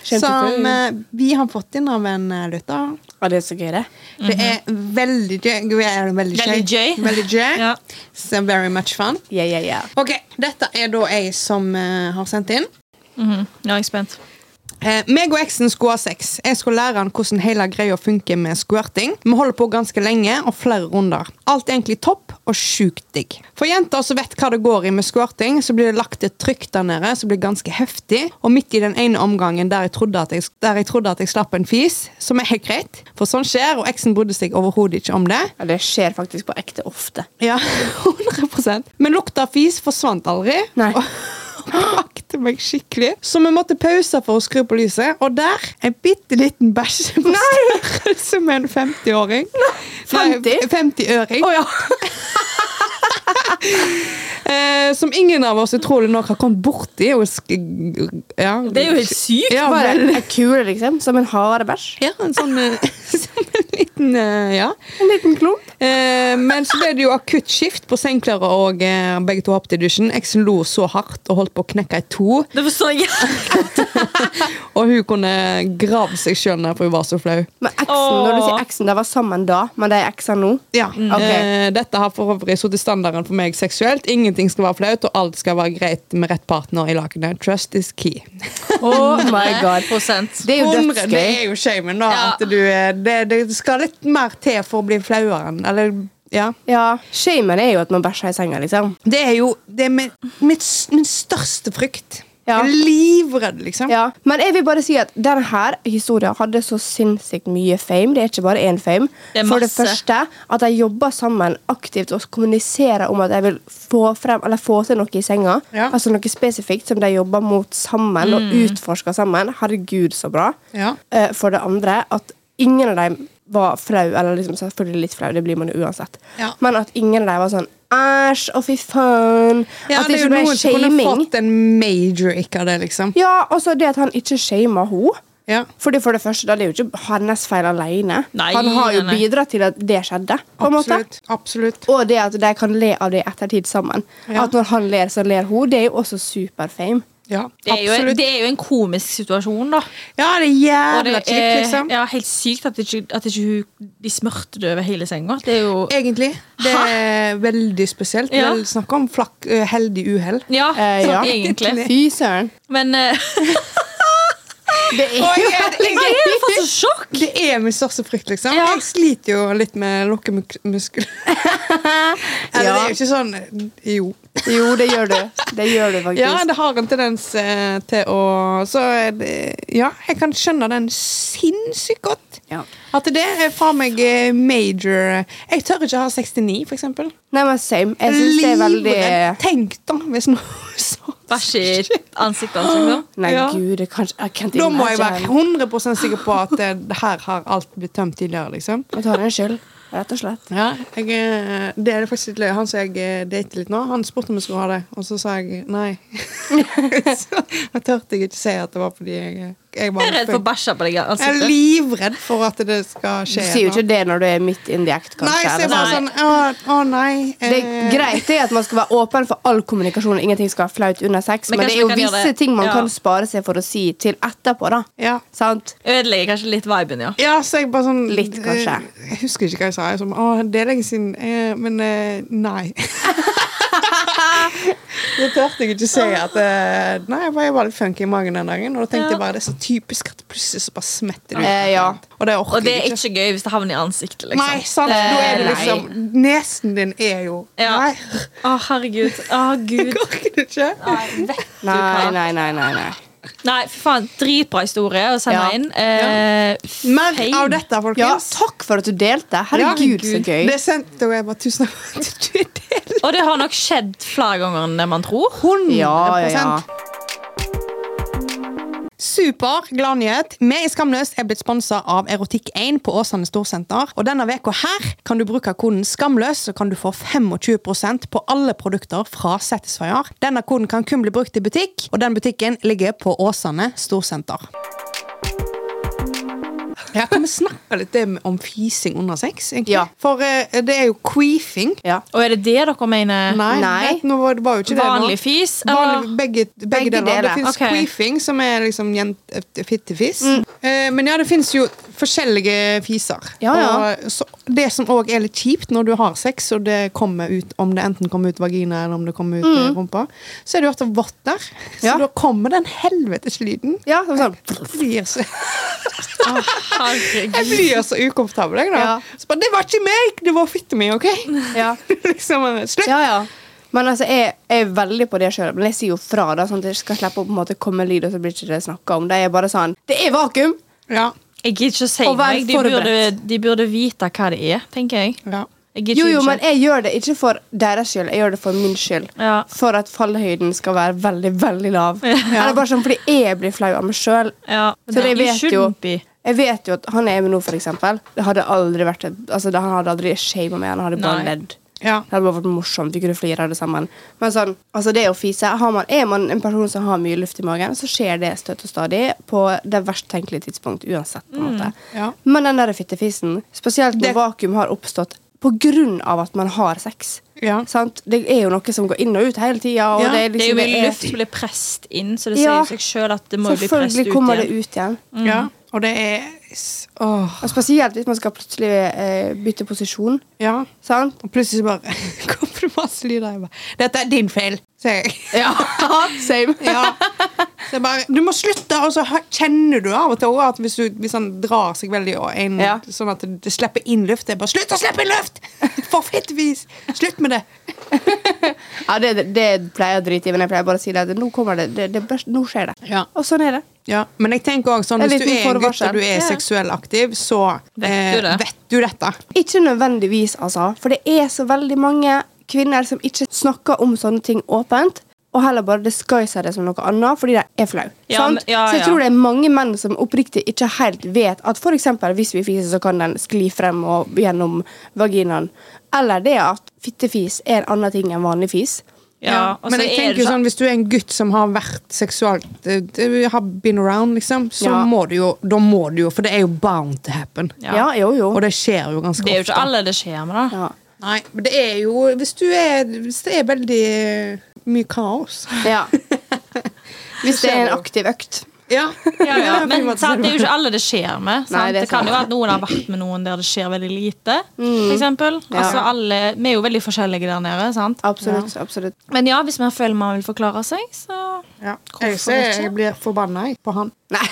Shame to som fame. eh, vi har fått inn av en eh, lytter. Ja, det er så gøy, det. Det er veldig gøy. Gøy er det Mhm. Veldig gøy. Veldig gøy. Veldig gøy. Ja. So very much fun. Ja, ja, ja. Ok, Dette er da jeg som eh, har sendt inn. Mhm. Nå er jeg spent. Eh, meg og eksen skulle ha sex. Jeg skulle lære han hvordan hele greia funker med squirting. Vi holder på ganske lenge og flere runder. Alt er egentlig topp og sjukt digg. For jenter som vet hva det går i med squirting, så blir det lagt et trykk der nede som blir ganske heftig. Og midt i den ene omgangen der jeg trodde at jeg, der jeg, trodde at jeg slapp en fis, som er helt greit, for sånn skjer, og eksen brydde seg overhodet ikke om det. Ja, det skjer faktisk på ekte ofte. Ja, 100 Men lukta av fis forsvant aldri. Nei. Og brakte meg skikkelig. Så vi måtte pause for å skru på lyset, og der en bitte liten bæsj på størrelse med en 50-åring. 50? Nei, 50-øring. ja. eh, som ingen av oss utrolig nok har kommet borti. Og sk ja. Det er jo helt sykt! ja, Bare vel. ei kule, liksom. Som en harebæsj. ja, en sånn eh, som en liten eh, Ja. En liten klump. Eh, men så ble det jo akutt skift på sengeklærne, og eh, begge to hoppet i dusjen. Eksen lo så hardt og holdt på å knekke i to. Det forstår jeg. Og hun kunne grave seg sjøl ned, for hun var så flau. Men eksen, Åh. når du sier eksen, de var sammen da, men de er ekser nå. Ja, Ok. eh, Dette har for øvrig satt i standarden for meg seksuelt. Ingenting skal være flaut, og alt skal være greit med rett partner i lakenet. Trust is key. Oh my god. Prosent. Det er jo Hundre- det dødsgøy. er jo shamen, da. Ja. At du, eh, det, det skal litt mer til for å bli flauere enn Eller, ja. Ja, Shamen er jo at man bæsjer i senga, liksom. Det er jo det er min, mitt, s- min største frykt. Ja. Jeg er livredd, liksom. Ja, Men jeg vil bare si at denne her historien hadde så sinnssykt mye fame. Det er ikke bare én fame. Det er For det masse. første at de jobber sammen aktivt og kommuniserer om at de vil få, frem, eller få til noe i senga. Ja. Mm. Altså Noe spesifikt som de jobber mot sammen og utforsker sammen. Herregud, så bra. Ja. Eh, For det andre at ingen av dem var flau, eller liksom selvfølgelig litt flau, det blir man jo uansett. Ja. Men at ingen av dem var sånn æsj, å fy faen. Ja, at det er jo ikke ble noen som kunne shaming. fått en major ikke av det, liksom. Ja, altså det at han ikke shama henne. Ja. Fordi for det første, da, det er jo ikke hans feil alene. Nei, han har jo nei, nei. bidratt til at det skjedde. på en måte. Absolutt. Absolutt. Og det at de kan le av det i ettertid sammen. Ja. At når han ler, så ler hun. Det er jo også superfame. Ja, Det er, jo, absolutt. det er jo en komisk situasjon, da. Ja, det er Og jævla det kjipt, liksom. ja, helt sykt at ikke, at ikke hun, de smørte det over hele senga. Det er jo Egentlig. Det er veldig spesielt. Ja. Vel, snakk om flakk, eh, heldig uhell. Ja, Eh, sånn ja. egentlig. Fy søren. Men eh, Det er Oi, jo jeg- jeg er jo fått så sjokk! Det er min største frykt, liksom. Ja. Jeg sliter jo litt med lokkemuskler. Eller det er jo ikke sånn Jo. Jo, det gjør du. Det gjør du faktisk. Ja, det har en tendens eh, til å Så er det, ja, jeg kan skjønne den sinnssykt godt. Ja. At det er fra meg eh, major Jeg tør ikke ha 69, for eksempel. Nei, men same. Jeg syns det er veldig Livredd. Tenk da, hvis noe sånt Bæsj i ansiktet hans. Liksom. Nei, Ja. gud, jeg kan ikke I can't Da må jeg være imagine. 100 sikker på at det, det her har alt blitt tømt tidligere. liksom. Jeg tar en skyld. rett og slett. Ja, jeg, eh, det er det faktisk litt løy. Han som jeg eh, dater litt nå, han spurte om jeg skulle ha det, og så sa jeg nei. så jeg turte jeg ikke si at det var fordi jeg Jeg, Jeg bare, er redd for å bæsje på deg i jeg er ansiktet. livredd for at det skal Du skje. sier jo nå. ikke det når du er midt in the act, kanskje. Nei, så eller jeg bare sånn. sånn Å, å nei. det eh, er greit det er at man skal være åpen for all kommunikasjon, og ingenting skal være flaut under sex, Men men, det kanskje er jo vi kan gjøre visse det- ting man ja. kan spare seg for å si til etterpå, da. Ja. Sant? Ødelegger kanskje litt viben, ja. Ja, så jeg bare sånn Litt, kanskje. eh, Jeg husker ikke hva jeg sa. Jeg sånn, å, det er lenge siden. eh, Men eh, nei. Da turte jeg ikke si at eh, Nei, jeg var, jeg var litt funky i magen den dagen. Og da tenkte Ja. jeg bare det er så typisk at plutselig så bare smetter det ut. Eh, ja. Og det orker Og det er jeg ikke. ikke gøy hvis det havner i ansiktet. liksom. Nei, sant. Nå er det Eh, liksom Nesen din er jo Ja. Nei, Å, herregud. Å, gud. jeg orker det ikke. Nei, vet du Nei, hva. nei, nei, nei. nei. Nei, for faen. Dritbra historie å sende Ja. inn. Eh, Men fame. av dette, Ja, folkens takk for at du delte. Herregud, så gøy. Det sendte jeg bare tusen takk for at du delte. Og det har nok skjedd flere ganger enn det man tror. 100 Ja, ja, ja. Super gladnyhet. Vi i Skamløs er blitt sponsa av Erotikk1 på Åsane Storsenter. Og denne veka her kan du bruke koden SKAMLØS, så kan du få 25 på alle produkter fra Satisfyer. Denne koden kan kun bli brukt i butikk, og den butikken ligger på Åsane Storsenter. Ja, kan vi snakke litt det med- om fising under sex? egentlig? Ja. For eh, det er jo queefing. Ja. Og er det det dere mener? Nei, Nei. Vet, nå var det var jo ikke det nå. Vanlig fis, Vanlig- eller? begge, begge, Begge deler. deler, Det fins ok. queefing, som er liksom jent, fittefis. Mm. Eh, men ja, det fins jo forskjellige fiser. Ja, ja. Og, så, det som òg er litt kjipt når du har sex, og det kommer ut, om det enten kommer ut vagina eller om det kommer ut eh, rumpa, så er det jo ofte vått der. Så Mm. Ja. da kommer den helvetes lyden. Ja, det var sånn. Jeg blir så, Herregud. jeg blir så ukomfortabel, jeg, da. Ja. Så bare, det var ikke meg! Det var fitta mi, OK? Ja. liksom, eh, slutt! Ja, ja. Men altså, jeg, jeg er veldig på det sjøl. Men jeg sier jo fra, da, sånn at jeg skal slippe å på en måte komme lyd, og så blir ikke det snakka om. Det er bare sånn Det er vakuum! Ja. Jeg gidder ikke å si Og vær meg. De burde, forberedt. Mm. de burde vite hva det er, tenker jeg. ja. jeg gidder Jo, jo, ikke. men jeg gjør det ikke for deres skyld, jeg gjør det for min skyld. Ja. For at fallhøyden skal være veldig, veldig lav. Eller bare sånn fordi jeg blir flau av meg sjøl. ja. Så jeg You vet, jo, shouldn't be. jeg vet jo at han jeg er med nå, for eksempel, det hadde aldri vært et- altså, det- Han hadde aldri shama meg, han hadde bare Nei. ledd. ja. Det hadde bare vært morsomt. Vi kunne flire av det sammen. Men sånn, altså det å fise har man, Er man en person som har mye luft i magen, så skjer det støtt og stadig på det verst tenkelige tidspunkt uansett. på en måte. ja. Men den der fittefisen, spesielt når Det- vakuum har oppstått på grunn av at man har sex Ja. sant? Det er jo noe som går inn og ut hele tida. Ja, det, er Det er jo liksom, mye det er- luft som blir presset inn, så det Ja. sier seg sjøl at det må jo bli presset ut Selvfølgelig kommer det igjen. ut igjen. Ja, og det er s- Åh, Og spesielt hvis man skal plutselig eh, bytte posisjon. ja. Sant? Og plutselig så bare kommer det masse lyder. Jeg bare 'Dette er din feil', sier jeg. Ja, same. Ja. Så jeg bare, du må slutte, og så hø- kjenner du av og til også at hvis, du, hvis han drar seg veldig og en, Ja. sånn at det slipper inn luft, det er bare 'Slutt å slippe inn luft!' For fittevis! Slutt med det. Ja, det, det pleier jeg å drite i, men jeg pleier bare å si det at nå kommer det, det, det bør- nå skjer det. Ja. Og sånn er det. Ja, men jeg tenker også sånn, En Hvis du liten er en gutt forvarsel. og du er Ja. seksuell aktiv, så eh, Vet du det? vet du dette. Ikke nødvendigvis, altså, for det er så veldig mange kvinner som ikke snakker om sånne ting åpent, og heller bare disguiser det som noe annet fordi de er flau. Ja, sant? men- ja, Så jeg ja. tror det er mange menn som oppriktig ikke helt vet at for eksempel hvis vi fiser, så kan den skli frem og gjennom vaginaen. Eller det at fittefis er en annen ting enn vanlig fis. Ja, og så men jeg er tenker det jo sånn sånn, hvis du er en gutt som har vært seksuelt eh, d- Har been around, liksom, så Ja. må du jo Da må du jo, for det er jo bound to happen. Ja. Ja, jo, jo. Og det skjer jo sånn- ganske Det er jo ikke ofte. alle det skjer med, da. Ja. Nei, men det er jo Hvis du er Hvis det er veldig eh, mye kaos ja. Hvis det er en jo. aktiv økt. Ja. Ja, ja. Men sant, det er jo ikke alle det skjer med. Sant? Nei, det det, er kan sant. Mm. jo være at noen har vært med noen der det skjer veldig lite. For eksempel. Ja. altså, alle, vi er jo veldig forskjellige der nede. Sant? Absolutt. absolutt. Men ja, hvis man føler man vil forklare seg, så ja. Hvorfor Jeg, ser, ikke? jeg blir forbanna jeg, på han. Nei.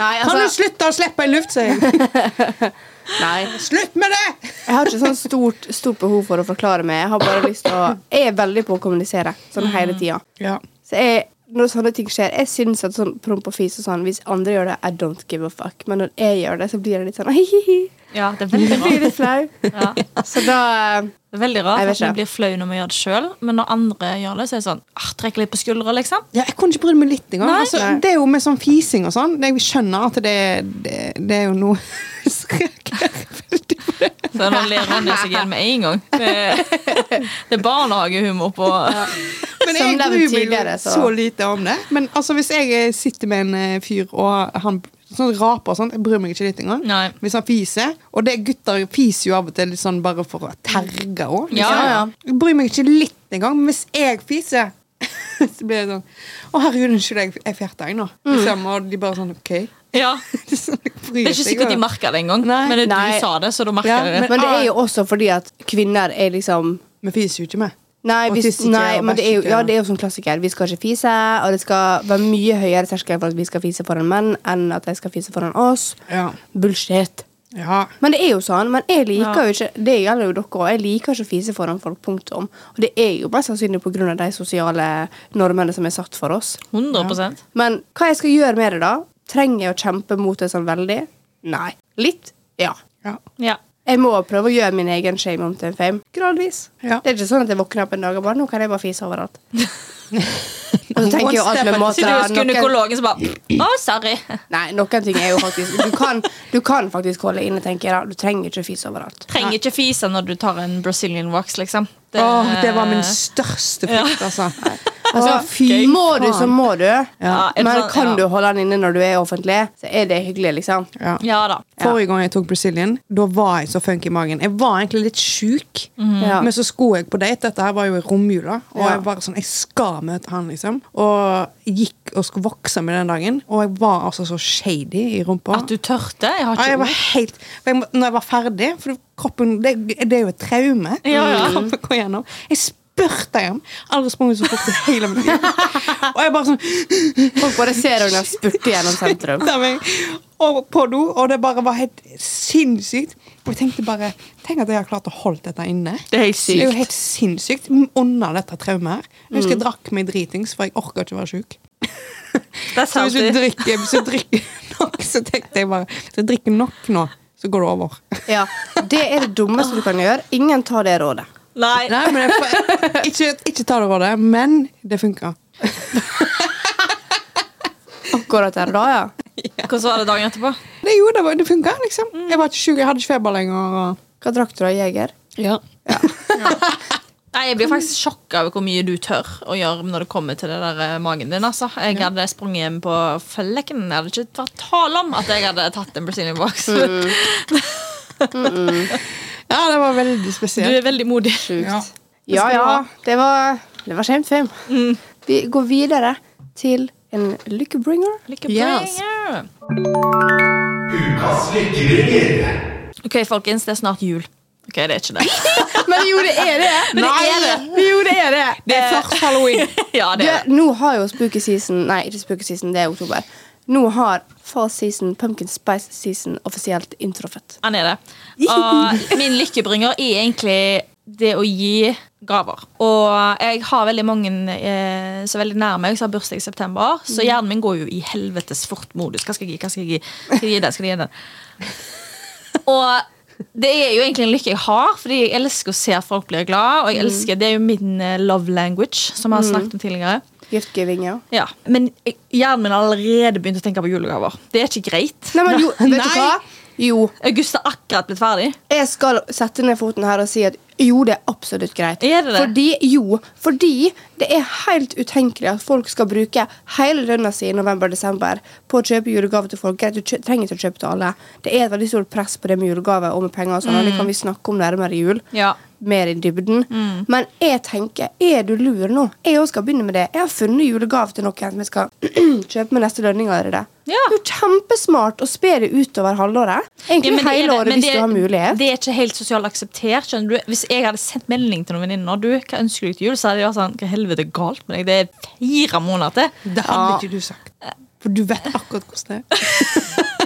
Nei, Kan du altså- slutte å slippe i luft, sier jeg! Nei. Slutt med det! Jeg har ikke sånn stort, stort behov for å forklare meg. Jeg har bare lyst til å Jeg er veldig på å kommunisere sånn Mhm. hele tida. Ja. Så jeg, når sånne ting skjer Jeg syns at sånn promp og fis og sånn Hvis andre gjør det, I don't give a fuck. Men når jeg gjør det, så blir det litt sånn hi-hi-hi. ja, det er veldig Jeg rart. blir litt flau. Ja. Så da eh, Det er veldig Jeg rart vet at vi ikke. blir flau når vi gjør det sjøl, men når andre gjør det, så er det sånn ah, Trekk litt på skuldra, liksom. Ja, jeg kunne ikke brydd meg litt engang. Nei. Altså, Nei. det er jo med sånn fising og sånn. Jeg skjønner at det, det, det er jo noe som reagerer veldig på Så nå ler Ronny seg igjen med en gang. Det, det er barnehagehumor på Men Som jeg nevnt gruer meg tidligere, jo så- så lite om det. Men altså, hvis jeg eh, sitter med en eh, fyr og han sånn raper og sånt, jeg bryr meg ikke litt engang. Nei. Hvis han fiser, og det gutter fiser jo av og til litt sånn bare for å terge òg. Ja, ja. Jeg bryr meg ikke litt engang. Men hvis jeg fiser, så blir det sånn Å, herregud, unnskyld, jeg, jeg fjerter jeg nå. Mm. Liksom, og de bare sånn OK. Ja. Det er sånn, jeg Det bryr er ikke sikkert de merker det engang, Nei. men det, du Nei. sa det, så da merker Ja, de det. Men det er jo ah. også fordi at kvinner er liksom Vi fiser jo ikke med. Nei, Og hvis, tissekjær nei og men det er, jo, bæsjekjær. ja, det er jo som klassiker. Vi skal ikke fise, og det skal være mye høyere terskel for at vi skal fise foran menn enn at de skal fise foran oss. Ja. Bullshit. ja. Men det er jo sånn. Men jeg liker Ja. jo ikke Det gjelder jo dere også, Jeg liker ikke å fise foran folk, punktum. Og det er jo mest sannsynlig pga. de sosiale normene som er satt for oss. 100 Men hva jeg skal gjøre med det, da? Trenger jeg å kjempe mot det sånn veldig? Nei. Litt? Ja. ja. ja. Jeg må prøve å gjøre min egen shame om til en fame. Gradvis. Ja. Det er ikke sånn at jeg våkner opp en dag og bare Nå kan jeg bare fise overalt. og så tenker jeg jo alt med måter Sitter jo hos noen, gynekologen som bare Å, sorry. Nei, noen ting er jo faktisk Du kan, du kan faktisk holde inne, tenker jeg. da. Du trenger ikke å fise overalt. Trenger ikke fise når du tar en Brazilian wax, liksom. Det, Åh, det var min største frykt, altså. Altså, Åh, fy gøy Må du, så faen. må du. Ja, er det Men sånn- kan ja. du holde den inne når du er offentlig, så er det hyggelig, liksom. Ja. Ja da. Forrige gang jeg tok Brazilian, da var jeg så funky i magen. Jeg var egentlig litt sjuk, Mhm. Ja. men så skulle jeg på date. Dette her var jo i romjula, og Ja. jeg var sånn Jeg skal møte han, liksom. Og gikk og skulle vokse med den dagen, og jeg var altså så shady i rumpa. At du tørte? Jeg har Ja, jeg ikke var helt for jeg, må- Når jeg var ferdig For kroppen, det, det er jo et traume Ja, ja. Kroppen går gjennom Jeg spurte hjem Aldri sprunget så fort i hele min liv Og jeg bare sånn Folk bare ser henne spurte gjennom sentrum. etter meg og på do, og det bare var helt sinnssykt. Og jeg tenkte bare Tenk at jeg har klart å holde dette inne. Det er helt sykt. Mm. Det er jo helt sinnssykt Under dette traumet her. Jeg husker jeg drakk meg dritings, for jeg orker ikke å være sjuk. That's Så hvis du healthy. drikker, hvis du drikker nok, så tenkte jeg bare Hvis jeg drikker nok nå, så går det over. Ja, Det er det dummeste du kan gjøre. Ingen tar det rådet. Nei. Nei, men jeg, ikke, ikke ta det rådet, men det funka. Akkurat der og da, ja. Hvordan var det dagen etterpå? Det gjorde det, var- det funka, liksom. Mm. Jeg var ikke sjuk, jeg hadde ikke feber lenger. Og, Hva drakk du da, Jeger? ja. Nei, Jeg blir faktisk sjokka over hvor mye du tør å gjøre når det kommer til det der eh, magen din. altså. Jeg hadde sprunget hjem på flekken. Jeg hadde ikke vært tale om at jeg hadde tatt en Brazilian box. ja, det var veldig Du spesielt. er veldig modig. Ja. Ja, skal du ja. ha. Det var, det var kjent film. Vi går videre til en lykkebringer. Lykke Yes. bringer. Ukas lykkebringer. Ok, folkens, det er snart jul. Ok, det er ikke det. Men jo, det er det! Men det er det. Jo, det er det! Det eh, er først halloween. Ja, det er det. Du, nå har jo spooky season Nei, ikke spooky season, det er oktober. Nå har fall season, pumpkin spice season, offisielt inntruffet. Han er det. Og min lykkebringer er egentlig det å gi gaver. Og jeg har veldig mange eh, så veldig nær meg som har bursdag i september. Mhm. Så hjernen min går jo i helvetes fort modus. Hva skal jeg gi? Hva skal jeg gi? Skal jeg gi den? Skal jeg gi den? Og det er jo egentlig en lykke jeg har, fordi jeg elsker å se at folk blir glad. Mhm. Og jeg elsker, det er jo min eh, love language, som jeg har snakket om tidligere. Giftgiving, Mhm. ja. Ja, Men jeg- hjernen min har allerede begynt å tenke på julegaver. Det er ikke greit. Nei, men jo, vet Nei. du hva? Jo, August har akkurat blitt ferdig. jeg skal sette ned foten her og si at jo, det er absolutt greit. Er det det? Fordi, jo, fordi det er helt utenkelig at folk skal bruke hele lønna si i november-desember på å kjøpe julegave til folk. Greit, du kjø trenger ikke å kjøpe til alle. Det er et veldig stort press på det med julegave og med penger og sånn, og det kan vi snakke om nærmere jul. Mm. Ja. Mm. Mer i dybden. Men jeg tenker, er du lur nå? Jeg også skal begynne med det. Jeg har funnet julegave til noen som jeg skal kjøpe med neste lønning allerede. Ja. Det er jo kjempesmart å spe det utover halvåret. Egentlig Ja, men det er hele det, året men hvis det- du har mulighet. Det er ikke helt sosialt akseptert. skjønner du? Hvis jeg hadde sendt melding til noen venninner du, hva ønsker du til jul, så hadde de vært sånn Hva helvete er galt med deg? Det er fire måneder til. Det hadde ikke du sagt. For du vet akkurat hvordan det er.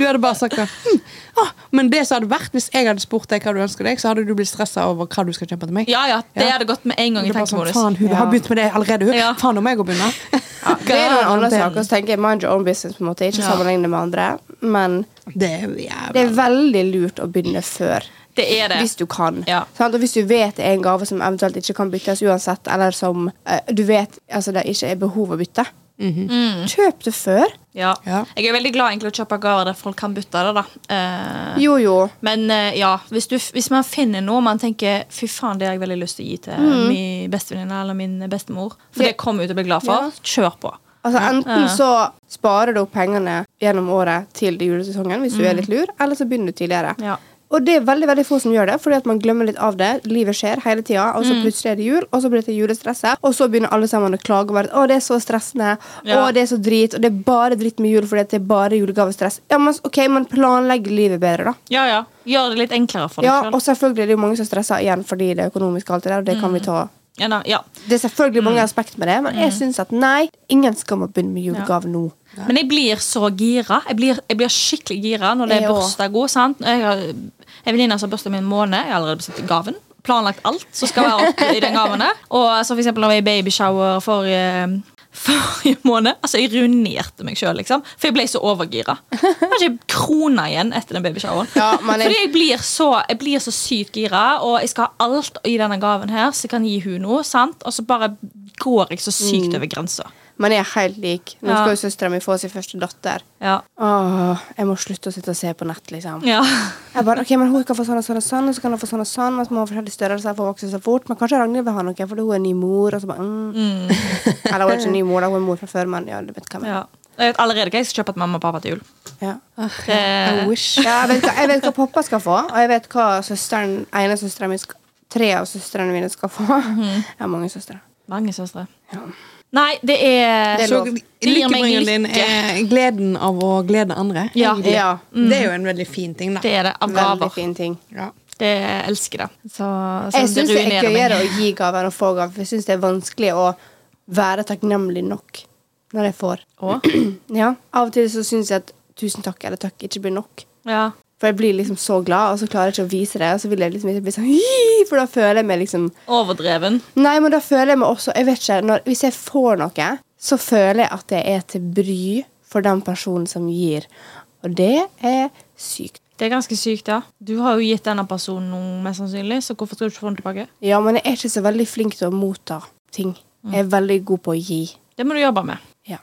Du hadde bare sagt det. Hm, ah, men det som hadde vært hvis jeg hadde spurt deg hva du ønsker deg, så hadde du blitt stressa over hva du skal kjøpe til meg. Ja, ja, det Ja. hadde gått med en gang Det i er bare sånn, tenkemodus. faen, hun Ja. har begynt med det allerede, hun. Ja. Faen, nå må jeg òg begynne. Det er noen andre saker, så tenker jeg mind your own business. på en måte Ikke Ja. sammenligne med andre, men Det er jo jævla det er veldig lurt å begynne før. Det er det. Hvis du kan. Ja. Sant? Og hvis du vet det er en gave som eventuelt ikke kan byttes uansett, eller som eh, du vet altså, det ikke er behov å bytte, Mhm. Kjøp det før. Ja. Ja. Jeg er veldig glad egentlig å kjøpe gaver der folk kan bytte det. da. Eh, Jo, jo. men eh, ja, hvis, du, hvis man finner noe man tenker fy faen, det har jeg veldig lyst til å gi til min bestevenninne eller min bestemor, for det kommer hun til å bli glad for, Ja. kjør på. Altså Enten Ja. så sparer du opp pengene gjennom året til det julesesongen, hvis du er litt lur, eller så begynner du tidligere. Mm. Ja. Og det er veldig veldig få som gjør det, fordi at man glemmer litt av det. Livet skjer hele tida, og Mm. så plutselig er det jul, og så blir det julestresset, og så begynner alle sammen å klage over at å, det er så stressende, Ja. å, det er så drit, og det er bare dritt med jul fordi at det er bare julegavestress. Ja, men OK, man planlegger livet bedre, da. Ja, ja. Gjør det litt enklere for deg Ja, selv. og selvfølgelig er det jo mange som stresser igjen fordi det er økonomisk og alt det der, og det Mm. kan vi ta Ja, da, ja. Det er selvfølgelig Mm. mange aspekt med det, men jeg syns at nei, ingen skal må begynne med julegave nå. Men jeg blir så gira. Jeg blir, jeg blir skikkelig gira når det er Jeg òg. bursdagsgod. sant? Jeg har en venninne som har bursdag om en måned. Jeg har allerede bestilt gaven. Planlagt alt som skal være opp i den gaven. der. Og så for eksempel når jeg var i babyshower forrige Forrige måned altså Jeg ruinerte meg sjøl, liksom. For jeg ble så overgira. Jeg har ikke krona igjen etter den babyshoweren. Ja, men jeg- Fordi jeg blir, så, jeg blir så sykt gira, og jeg skal ha alt i denne gaven her, så jeg kan gi hun noe. sant? Og så bare går jeg så Mm. sykt over grensa. Man er helt lik. Nå Ja. skal jo søstera mi få sin første datter. Ja. Åh, jeg må slutte å sitte og se på nett, liksom. ja. Jeg bare, ok, men Hun kan få sånn og sånn og sånn, og så kan hun få sånn og sånn, og så må hun ha forskjellige størrelser for å vokse så fort. Men kanskje Ragnhild vil ha noe fordi hun er ny mor, og så bare mm. Eller hun er ikke ny mor, da, hun er mor fra før, men ja, du vet hva jeg Ja. mener. Jeg vet allerede hva jeg skal kjøpe til mamma og pappa til jul. Ja. Det, I wish. Ja, jeg, vet hva, jeg vet hva pappa skal få, og jeg vet hva søsteren, ene søsteren min skal, tre av søstrene mine skal få. Jeg har mange søstre. mange søstre. Ja. Nei, det er Det er Så lov. gir meg lykkebringeren din lykke. er gleden av å glede andre. Ja. Mm. egentlig. Ja. Det er jo en veldig fin ting, Det da. er det. Av Veldig gaver. fin ting. Ja. Det jeg elsker det. Så, så Jeg syns det det er ruinerer gøyere meg. å gi gaver enn å få gaver. For jeg syns det er vanskelig å være takknemlig nok når jeg får. Å? Ja, Av og til så syns jeg at tusen takk eller takk ikke blir nok. Ja. For jeg blir liksom så glad, og så klarer jeg ikke å vise det. Og så vil jeg liksom ikke bli sånn «Hi!» For da føler jeg meg liksom Overdreven. Nei, men da føler jeg meg også jeg vet ikke, når, Hvis jeg får noe, så føler jeg at jeg er til bry for den personen som gir. Og det er sykt. Det er ganske sykt, ja. Du har jo gitt denne personen noe, mest sannsynlig, så hvorfor skal du ikke få den tilbake? Ja, men jeg er ikke så veldig flink til å motta ting. Jeg er veldig god på å gi. Det må du jobbe med. Ja.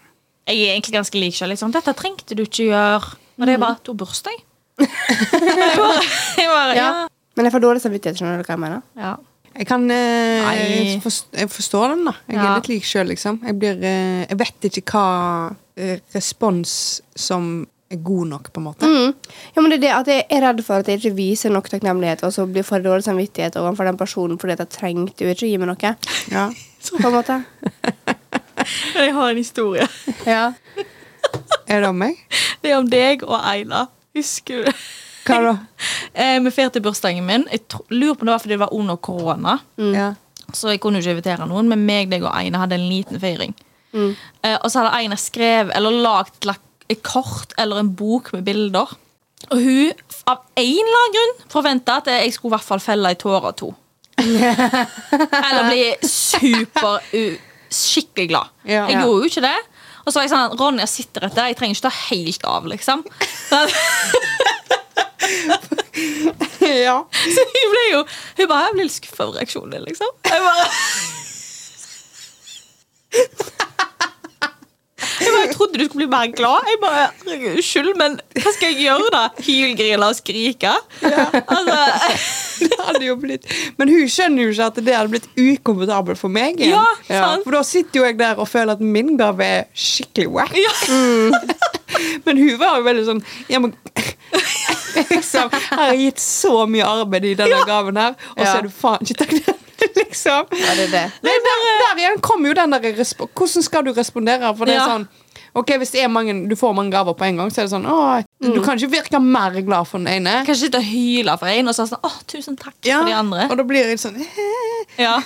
Jeg er egentlig ganske lik selv. Liksom. Dette trengte du ikke gjøre. Og det er bare to bursdag. jeg bare, jeg bare, ja. Ja. Men jeg får dårlig samvittighet. skjønner du hva jeg mener? ja. Jeg kan eh, Nei. forst- Jeg forstår den, da. Jeg Ja. er litt lik sjøl, liksom. Jeg, blir, eh, jeg vet ikke hva eh, respons som er god nok, på en måte. Mm. Ja, men det er det at Jeg er redd for at jeg ikke viser nok takknemlighet, og så blir jeg for dårlig samvittighet overfor den personen fordi at jeg trengte jo ikke å gi meg noe. Ja. På en måte. Jeg har en historie. Ja. Er det om meg? Det er om deg og Eila. Husker du det? Hva da? Eh, vi feirte bursdagen min. Jeg tro, lurer på om det var fordi det var under korona. Ja. Så jeg kunne jo ikke invitere noen, men meg, deg og Aina hadde en liten feiring. Eh, og så hadde Aina skrevet eller lagd lagt et kort eller en bok med bilder. Og hun, av en eller annen grunn, forventa at jeg skulle i hvert fall felle ei tåre to. eller bli super u- skikkelig glad. Ja. jeg Ja. gjorde jo ikke det. Og så var jeg sånn Ronja sitter etter, jeg trenger ikke ta helt av, liksom. Så- ja. Så hun ble jo Hun bare, jeg ble litt skuffet over reaksjonen din, liksom. Jeg bare Jeg bare, jeg trodde du skulle bli mer glad. Jeg bare, herregud, Unnskyld, men hva skal jeg gjøre, da? Hylgrille og skrike? Altså, Det hadde jo blitt Men hun skjønner jo ikke at det hadde blitt ukomfortabelt for meg. igjen. Ja, sant. For da sitter jo jeg der og føler at min gave er skikkelig wack. ja. Men hun var jo veldig sånn ja, men, liksom, Her har jeg gitt så mye arbeid i denne gaven her, og så Ja. er du faen ikke takknemlig, liksom. Ja, det er det. Nei, der, der igjen kommer jo den der respo- Hvordan skal du respondere? For det er Ja. sånn Ok, Hvis det er mange, du får mange gaver på en gang, så er det sånn åh, Du kan ikke virke mer glad for den ene. Kanskje sitte og hyle for en, og så sånn Å, tusen takk for de andre. Og da blir jeg litt sånn «Hæ?» Ja.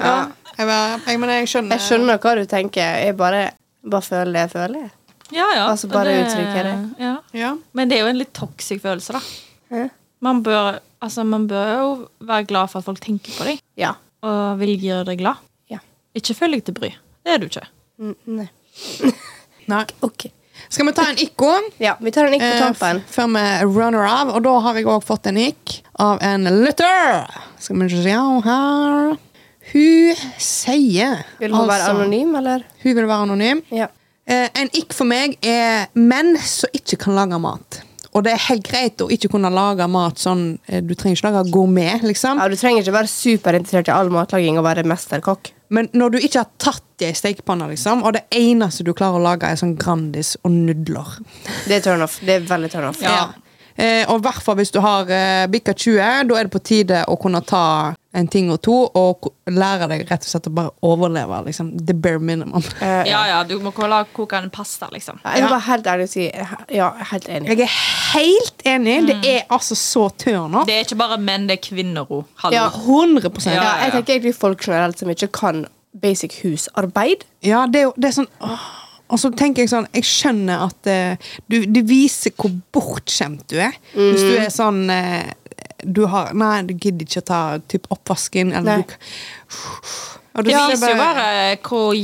ja. jeg, bare, jeg, mener, jeg skjønner. Jeg skjønner hva du tenker. Jeg bare, bare føler det jeg føler. ja, ja. Altså, bare Det- uttrykke det. Ja. Ja. Men det er jo en litt toxic følelse, da. Hæ? Man bør, altså, man bør jo være glad for at folk tenker på deg, Ja. og vil gjøre deg glad. ja. Ikke følg deg til bry. Det er du ikke. Mm, nei. Nei. OK. Skal vi ta en ikon? Ja, vi tar en ikke på Eh, tampen. f- Før vi runner av. Og da har jeg òg fått en nikk av en lytter. Skal vi se her Hun sier altså, Vil hun være anonym, eller? Hun vil være anonym. Ja. Eh, en ikk for meg er menn som ikke kan lage mat. Og det er helt greit å ikke kunne lage mat sånn eh, Du trenger ikke lage gourmet, liksom. ja. Du trenger ikke være superinteressert i all matlaging og være mesterkokk. Men når du ikke har tatt det i stekepanna, liksom, og det eneste du klarer å lage, er sånn Grandis og nudler Det er turn off. Det er veldig turn off. Ja. Eh, og i hvert fall hvis du har eh, bikka 20, da er det på tide å kunne ta en ting og to og ko- lære deg rett og slett å bare overleve. liksom. The bare minimum. Eh, Ja, ja, du må kola- koke en pasta, liksom. Jeg vil bare helt ærlig si ja, jeg er helt enig. Jeg er helt enig. Det er altså så turn off. Mm. Det er ikke bare menn, det er kvinner òg. Ja. Hallo. 100 Ja, ja. ja, ja. Jeg tenker egentlig folk generelt som ikke kan basic husarbeid. det er jo det er sånn åh. Og så tenker jeg sånn Jeg skjønner at eh, du, det viser hvor bortskjemt du er. Hvis du er sånn eh, du har, Nei, du gidder ikke å ta typ, oppvasken. Nei. Eller du, og Det du ser viser jo bare hvor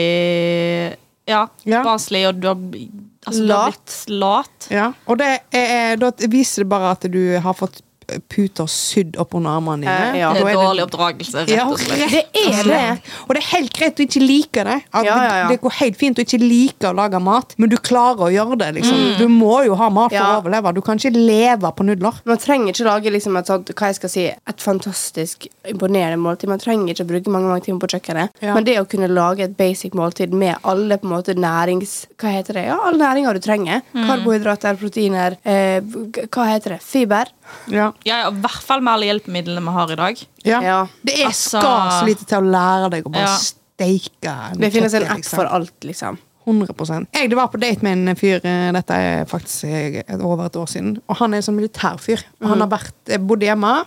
jævlig Ja, Ja. barnslig og du har, bl- altså, du har Lat. blitt lat. Ja, og det er, da viser det bare at du har fått puter sydd opp under armene dine. Eh, ja. Det Da er dårlig det- oppdragelse, rett Ja, og slett. rett og er slett. Og det er helt greit å ikke like det. At Ja, ja, ja. Det det går helt fint å ikke like å lage mat, men du klarer å gjøre det. Liksom. Du må jo ha mat for Mm. Ja. å overleve. Du kan ikke leve på nudler. Man trenger ikke lage liksom et sånt, hva jeg skal si, et fantastisk imponerende måltid. Man trenger ikke å bruke mange mange timer på kjøkkenet. Ja. Men det å kunne lage et basic måltid med alle på en måte nærings... Hva heter det? Ja, alle næringer du trenger. Mm. Karbohydrater, proteiner, eh, g- hva heter det? Fiber. Ja. Ja, ja, I hvert fall med alle hjelpemidlene vi har i dag. Ja. Det er Altså- skar så lite til å lære deg å bare Ja. steike. en Det finnes en kjøttdeig, app liksom. for alt, liksom. 100 Jeg det var på date med en fyr eh, Dette er faktisk eh, et- over et år siden. Og han er en sånn militærfyr. Og Mm. Han har vært, eh, bodd hjemme.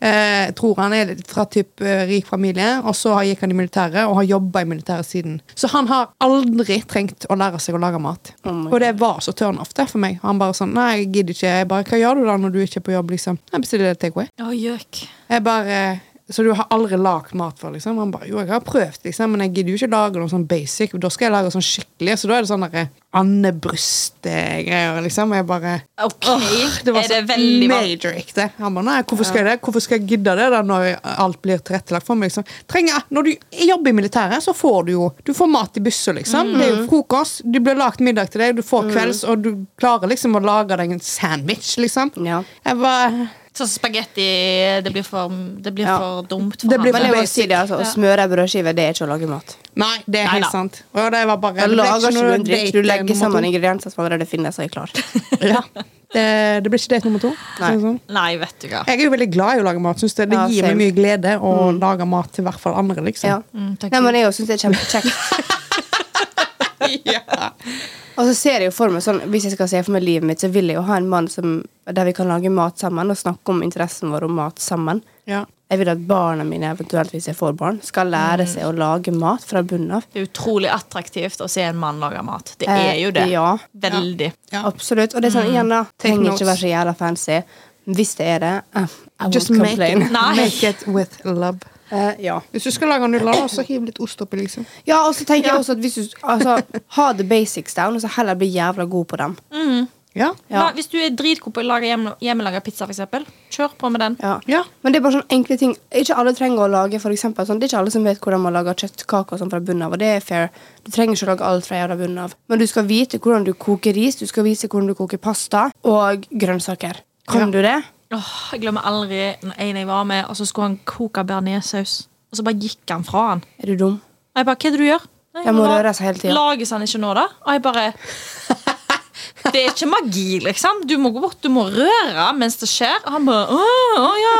Eh, jeg tror han er litt fra typ eh, rik familie. Og så har- gikk han i militæret og har jobba i militæret siden. Så han har aldri trengt å lære seg å lage mat. Oh my og det var så turn off det for meg. Han bare sånn Nei, jeg gidder ikke. Jeg bare, Hva gjør du da når du ikke er på jobb, liksom? Jeg bestiller takeaway. Å, gjøk. Jeg bare Så du har aldri lagd mat før? liksom? Han bare, jo, jeg har prøvd, liksom, men jeg gidder jo ikke lage noe sånn basic. Da skal jeg lage sånn skikkelig. Så da er det sånn derre andebryst-greier, liksom. Jeg bare Ok, Åh, det var er det så veldig vanlig? major ekte. Han bare, nei, hvorfor skal jeg det? Hvorfor skal jeg gidde det da når alt blir tilrettelagt for meg? Liksom? Trenger, når du jobber i militæret, så får du jo Du får mat i bussen, liksom. Det er jo Mhm. frokost, du blir lagt middag til deg, du får kvelds, og du klarer liksom å lage deg en sandwich, liksom. Ja. Jeg bare Sånn som spagetti Det blir for, det blir Ja. for dumt for Det blir Men han. jeg må basic. si det, altså, å smøre ei brødskive, det er ikke å lage mat. Nei, det er Nei helt da. sant. Og det var bare, Da det Mm. ble ikke lager ikke du noe en drikk, date du legger nummer sammen to. ingredienser som allerede finnes og er klar. Ja. Det, det blir ikke date nummer to. Nei. sånn som. Nei, vet du hva. Jeg er jo veldig glad i å lage mat. Synes det, det Ja, gir same. meg mye glede å lage mat til hvert fall andre. liksom. Ja. Mm, takk. Nei, men jeg syns det er kjempekjekt. Og så ser jeg jo for meg sånn, Hvis jeg skal se for meg livet mitt, så vil jeg jo ha en mann som, der vi kan lage mat sammen og snakke om interessen vår om mat sammen. Ja. Jeg vil at barna mine, eventuelt hvis jeg får barn, skal lære seg å lage mat fra bunnen av. Det er utrolig attraktivt å se en mann lage mat. Det Eh, er jo det. ja. Veldig. Ja. Mm. Absolutt. Og det er sånn, igjen da, trenger notes. ikke være så jævla fancy. Hvis det er det, eh, I won't Just make complain. it, Nei. make it with love. Eh, ja. Hvis du skal lage nudler, da, så hiv litt ost oppi. liksom. Ja, og så tenker jeg også at hvis du altså, Ha the basics down, og så heller bli jævla god på dem. Ja. Ja. Nei, hvis du er dritgod på å lage hjem, hjemmelaga pizza, for eksempel, kjør på med den. Ja. Ja. Men det er bare sånne enkle ting. Ikke alle trenger å lage for eksempel, sånn. Det er ikke alle som vet hvordan man lager kjøttkaker og sånn fra bunnen av, og det er fair. Du trenger ikke å lage alt fra jævla bunnen av. Men du skal vite hvordan du koker ris, du skal vite hvordan du koker pasta, og grønnsaker. Kan Ja. du det? Åh, jeg glemmer aldri når en jeg var med, og så skulle han koke bearnéssaus. Og så bare gikk han fra han. Er du dum? Og jeg bare, hva er det du gjør? Nei, Jeg må la- røre seg hele tiden. Lages han ikke nå, da? Og jeg bare Det er ikke magi, liksom. Du må gå bort, du må røre mens det skjer. Og han bare Å, å ja.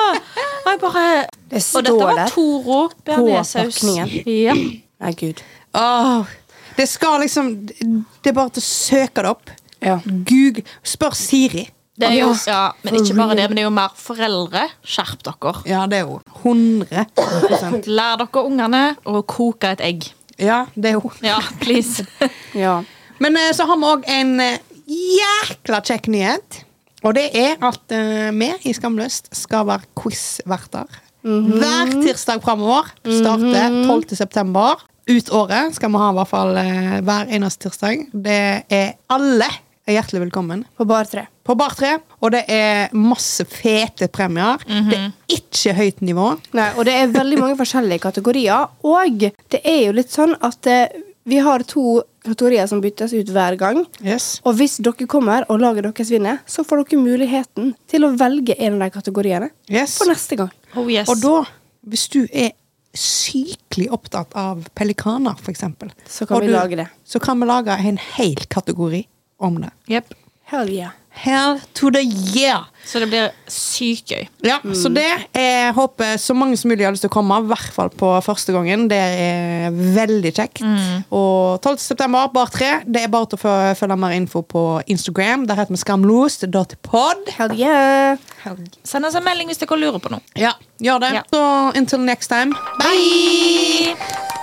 Og jeg bare Det Og dette står var der. Toro bearnéssaus. pakningen. Ja. Nei, gud. Åh, Det skal liksom Det er bare til å søke det opp. Ja. Google. Spør Siri. Det er jo, Yes. ja, men ikke bare det, men det er jo mer foreldre. Skjerp dere. Ja, det er jo 100 Lær dere ungene å koke et egg. Ja, det er jo Ja, please. Ja. Men eh, så har vi òg en eh, jækla kjekk nyhet. Og det er at eh, vi i Skamløst skal være quizverter. Hver tirsdag framover. Starter 12. september. Ut året skal vi ha i hvert fall eh, hver eneste tirsdag. Det er alle er hjertelig velkommen. På bare tre. På Bar 3. Og det er masse fete premier. Det er ikke høyt nivå. Nei, og det er veldig mange forskjellige kategorier. Og det er jo litt sånn at eh, vi har to kategorier som byttes ut hver gang. Yes. Og hvis dere kommer og laget deres vinner, så får dere muligheten til å velge en av de kategoriene Yes. for neste gang. Oh yes. Og da, hvis du er sykelig opptatt av pelikaner, for eksempel, Så kan og vi lage det. Så kan vi lage en hel kategori om det. Jep. Hell yeah. Hell to the year! Så det blir sykt gøy. Ja, Så Mm. det jeg håper så mange som mulig har lyst til å komme, i hvert fall på første gangen. Det er veldig kjekt. Mm. Og 12. september, bar 3. Det er bare til å fø- følge mer info på Instagram. Der heter vi skamlost.pod. Hell yeah. Send oss en melding hvis dere lurer på noe. Ja, gjør det. Ja. Så until next time. Bye!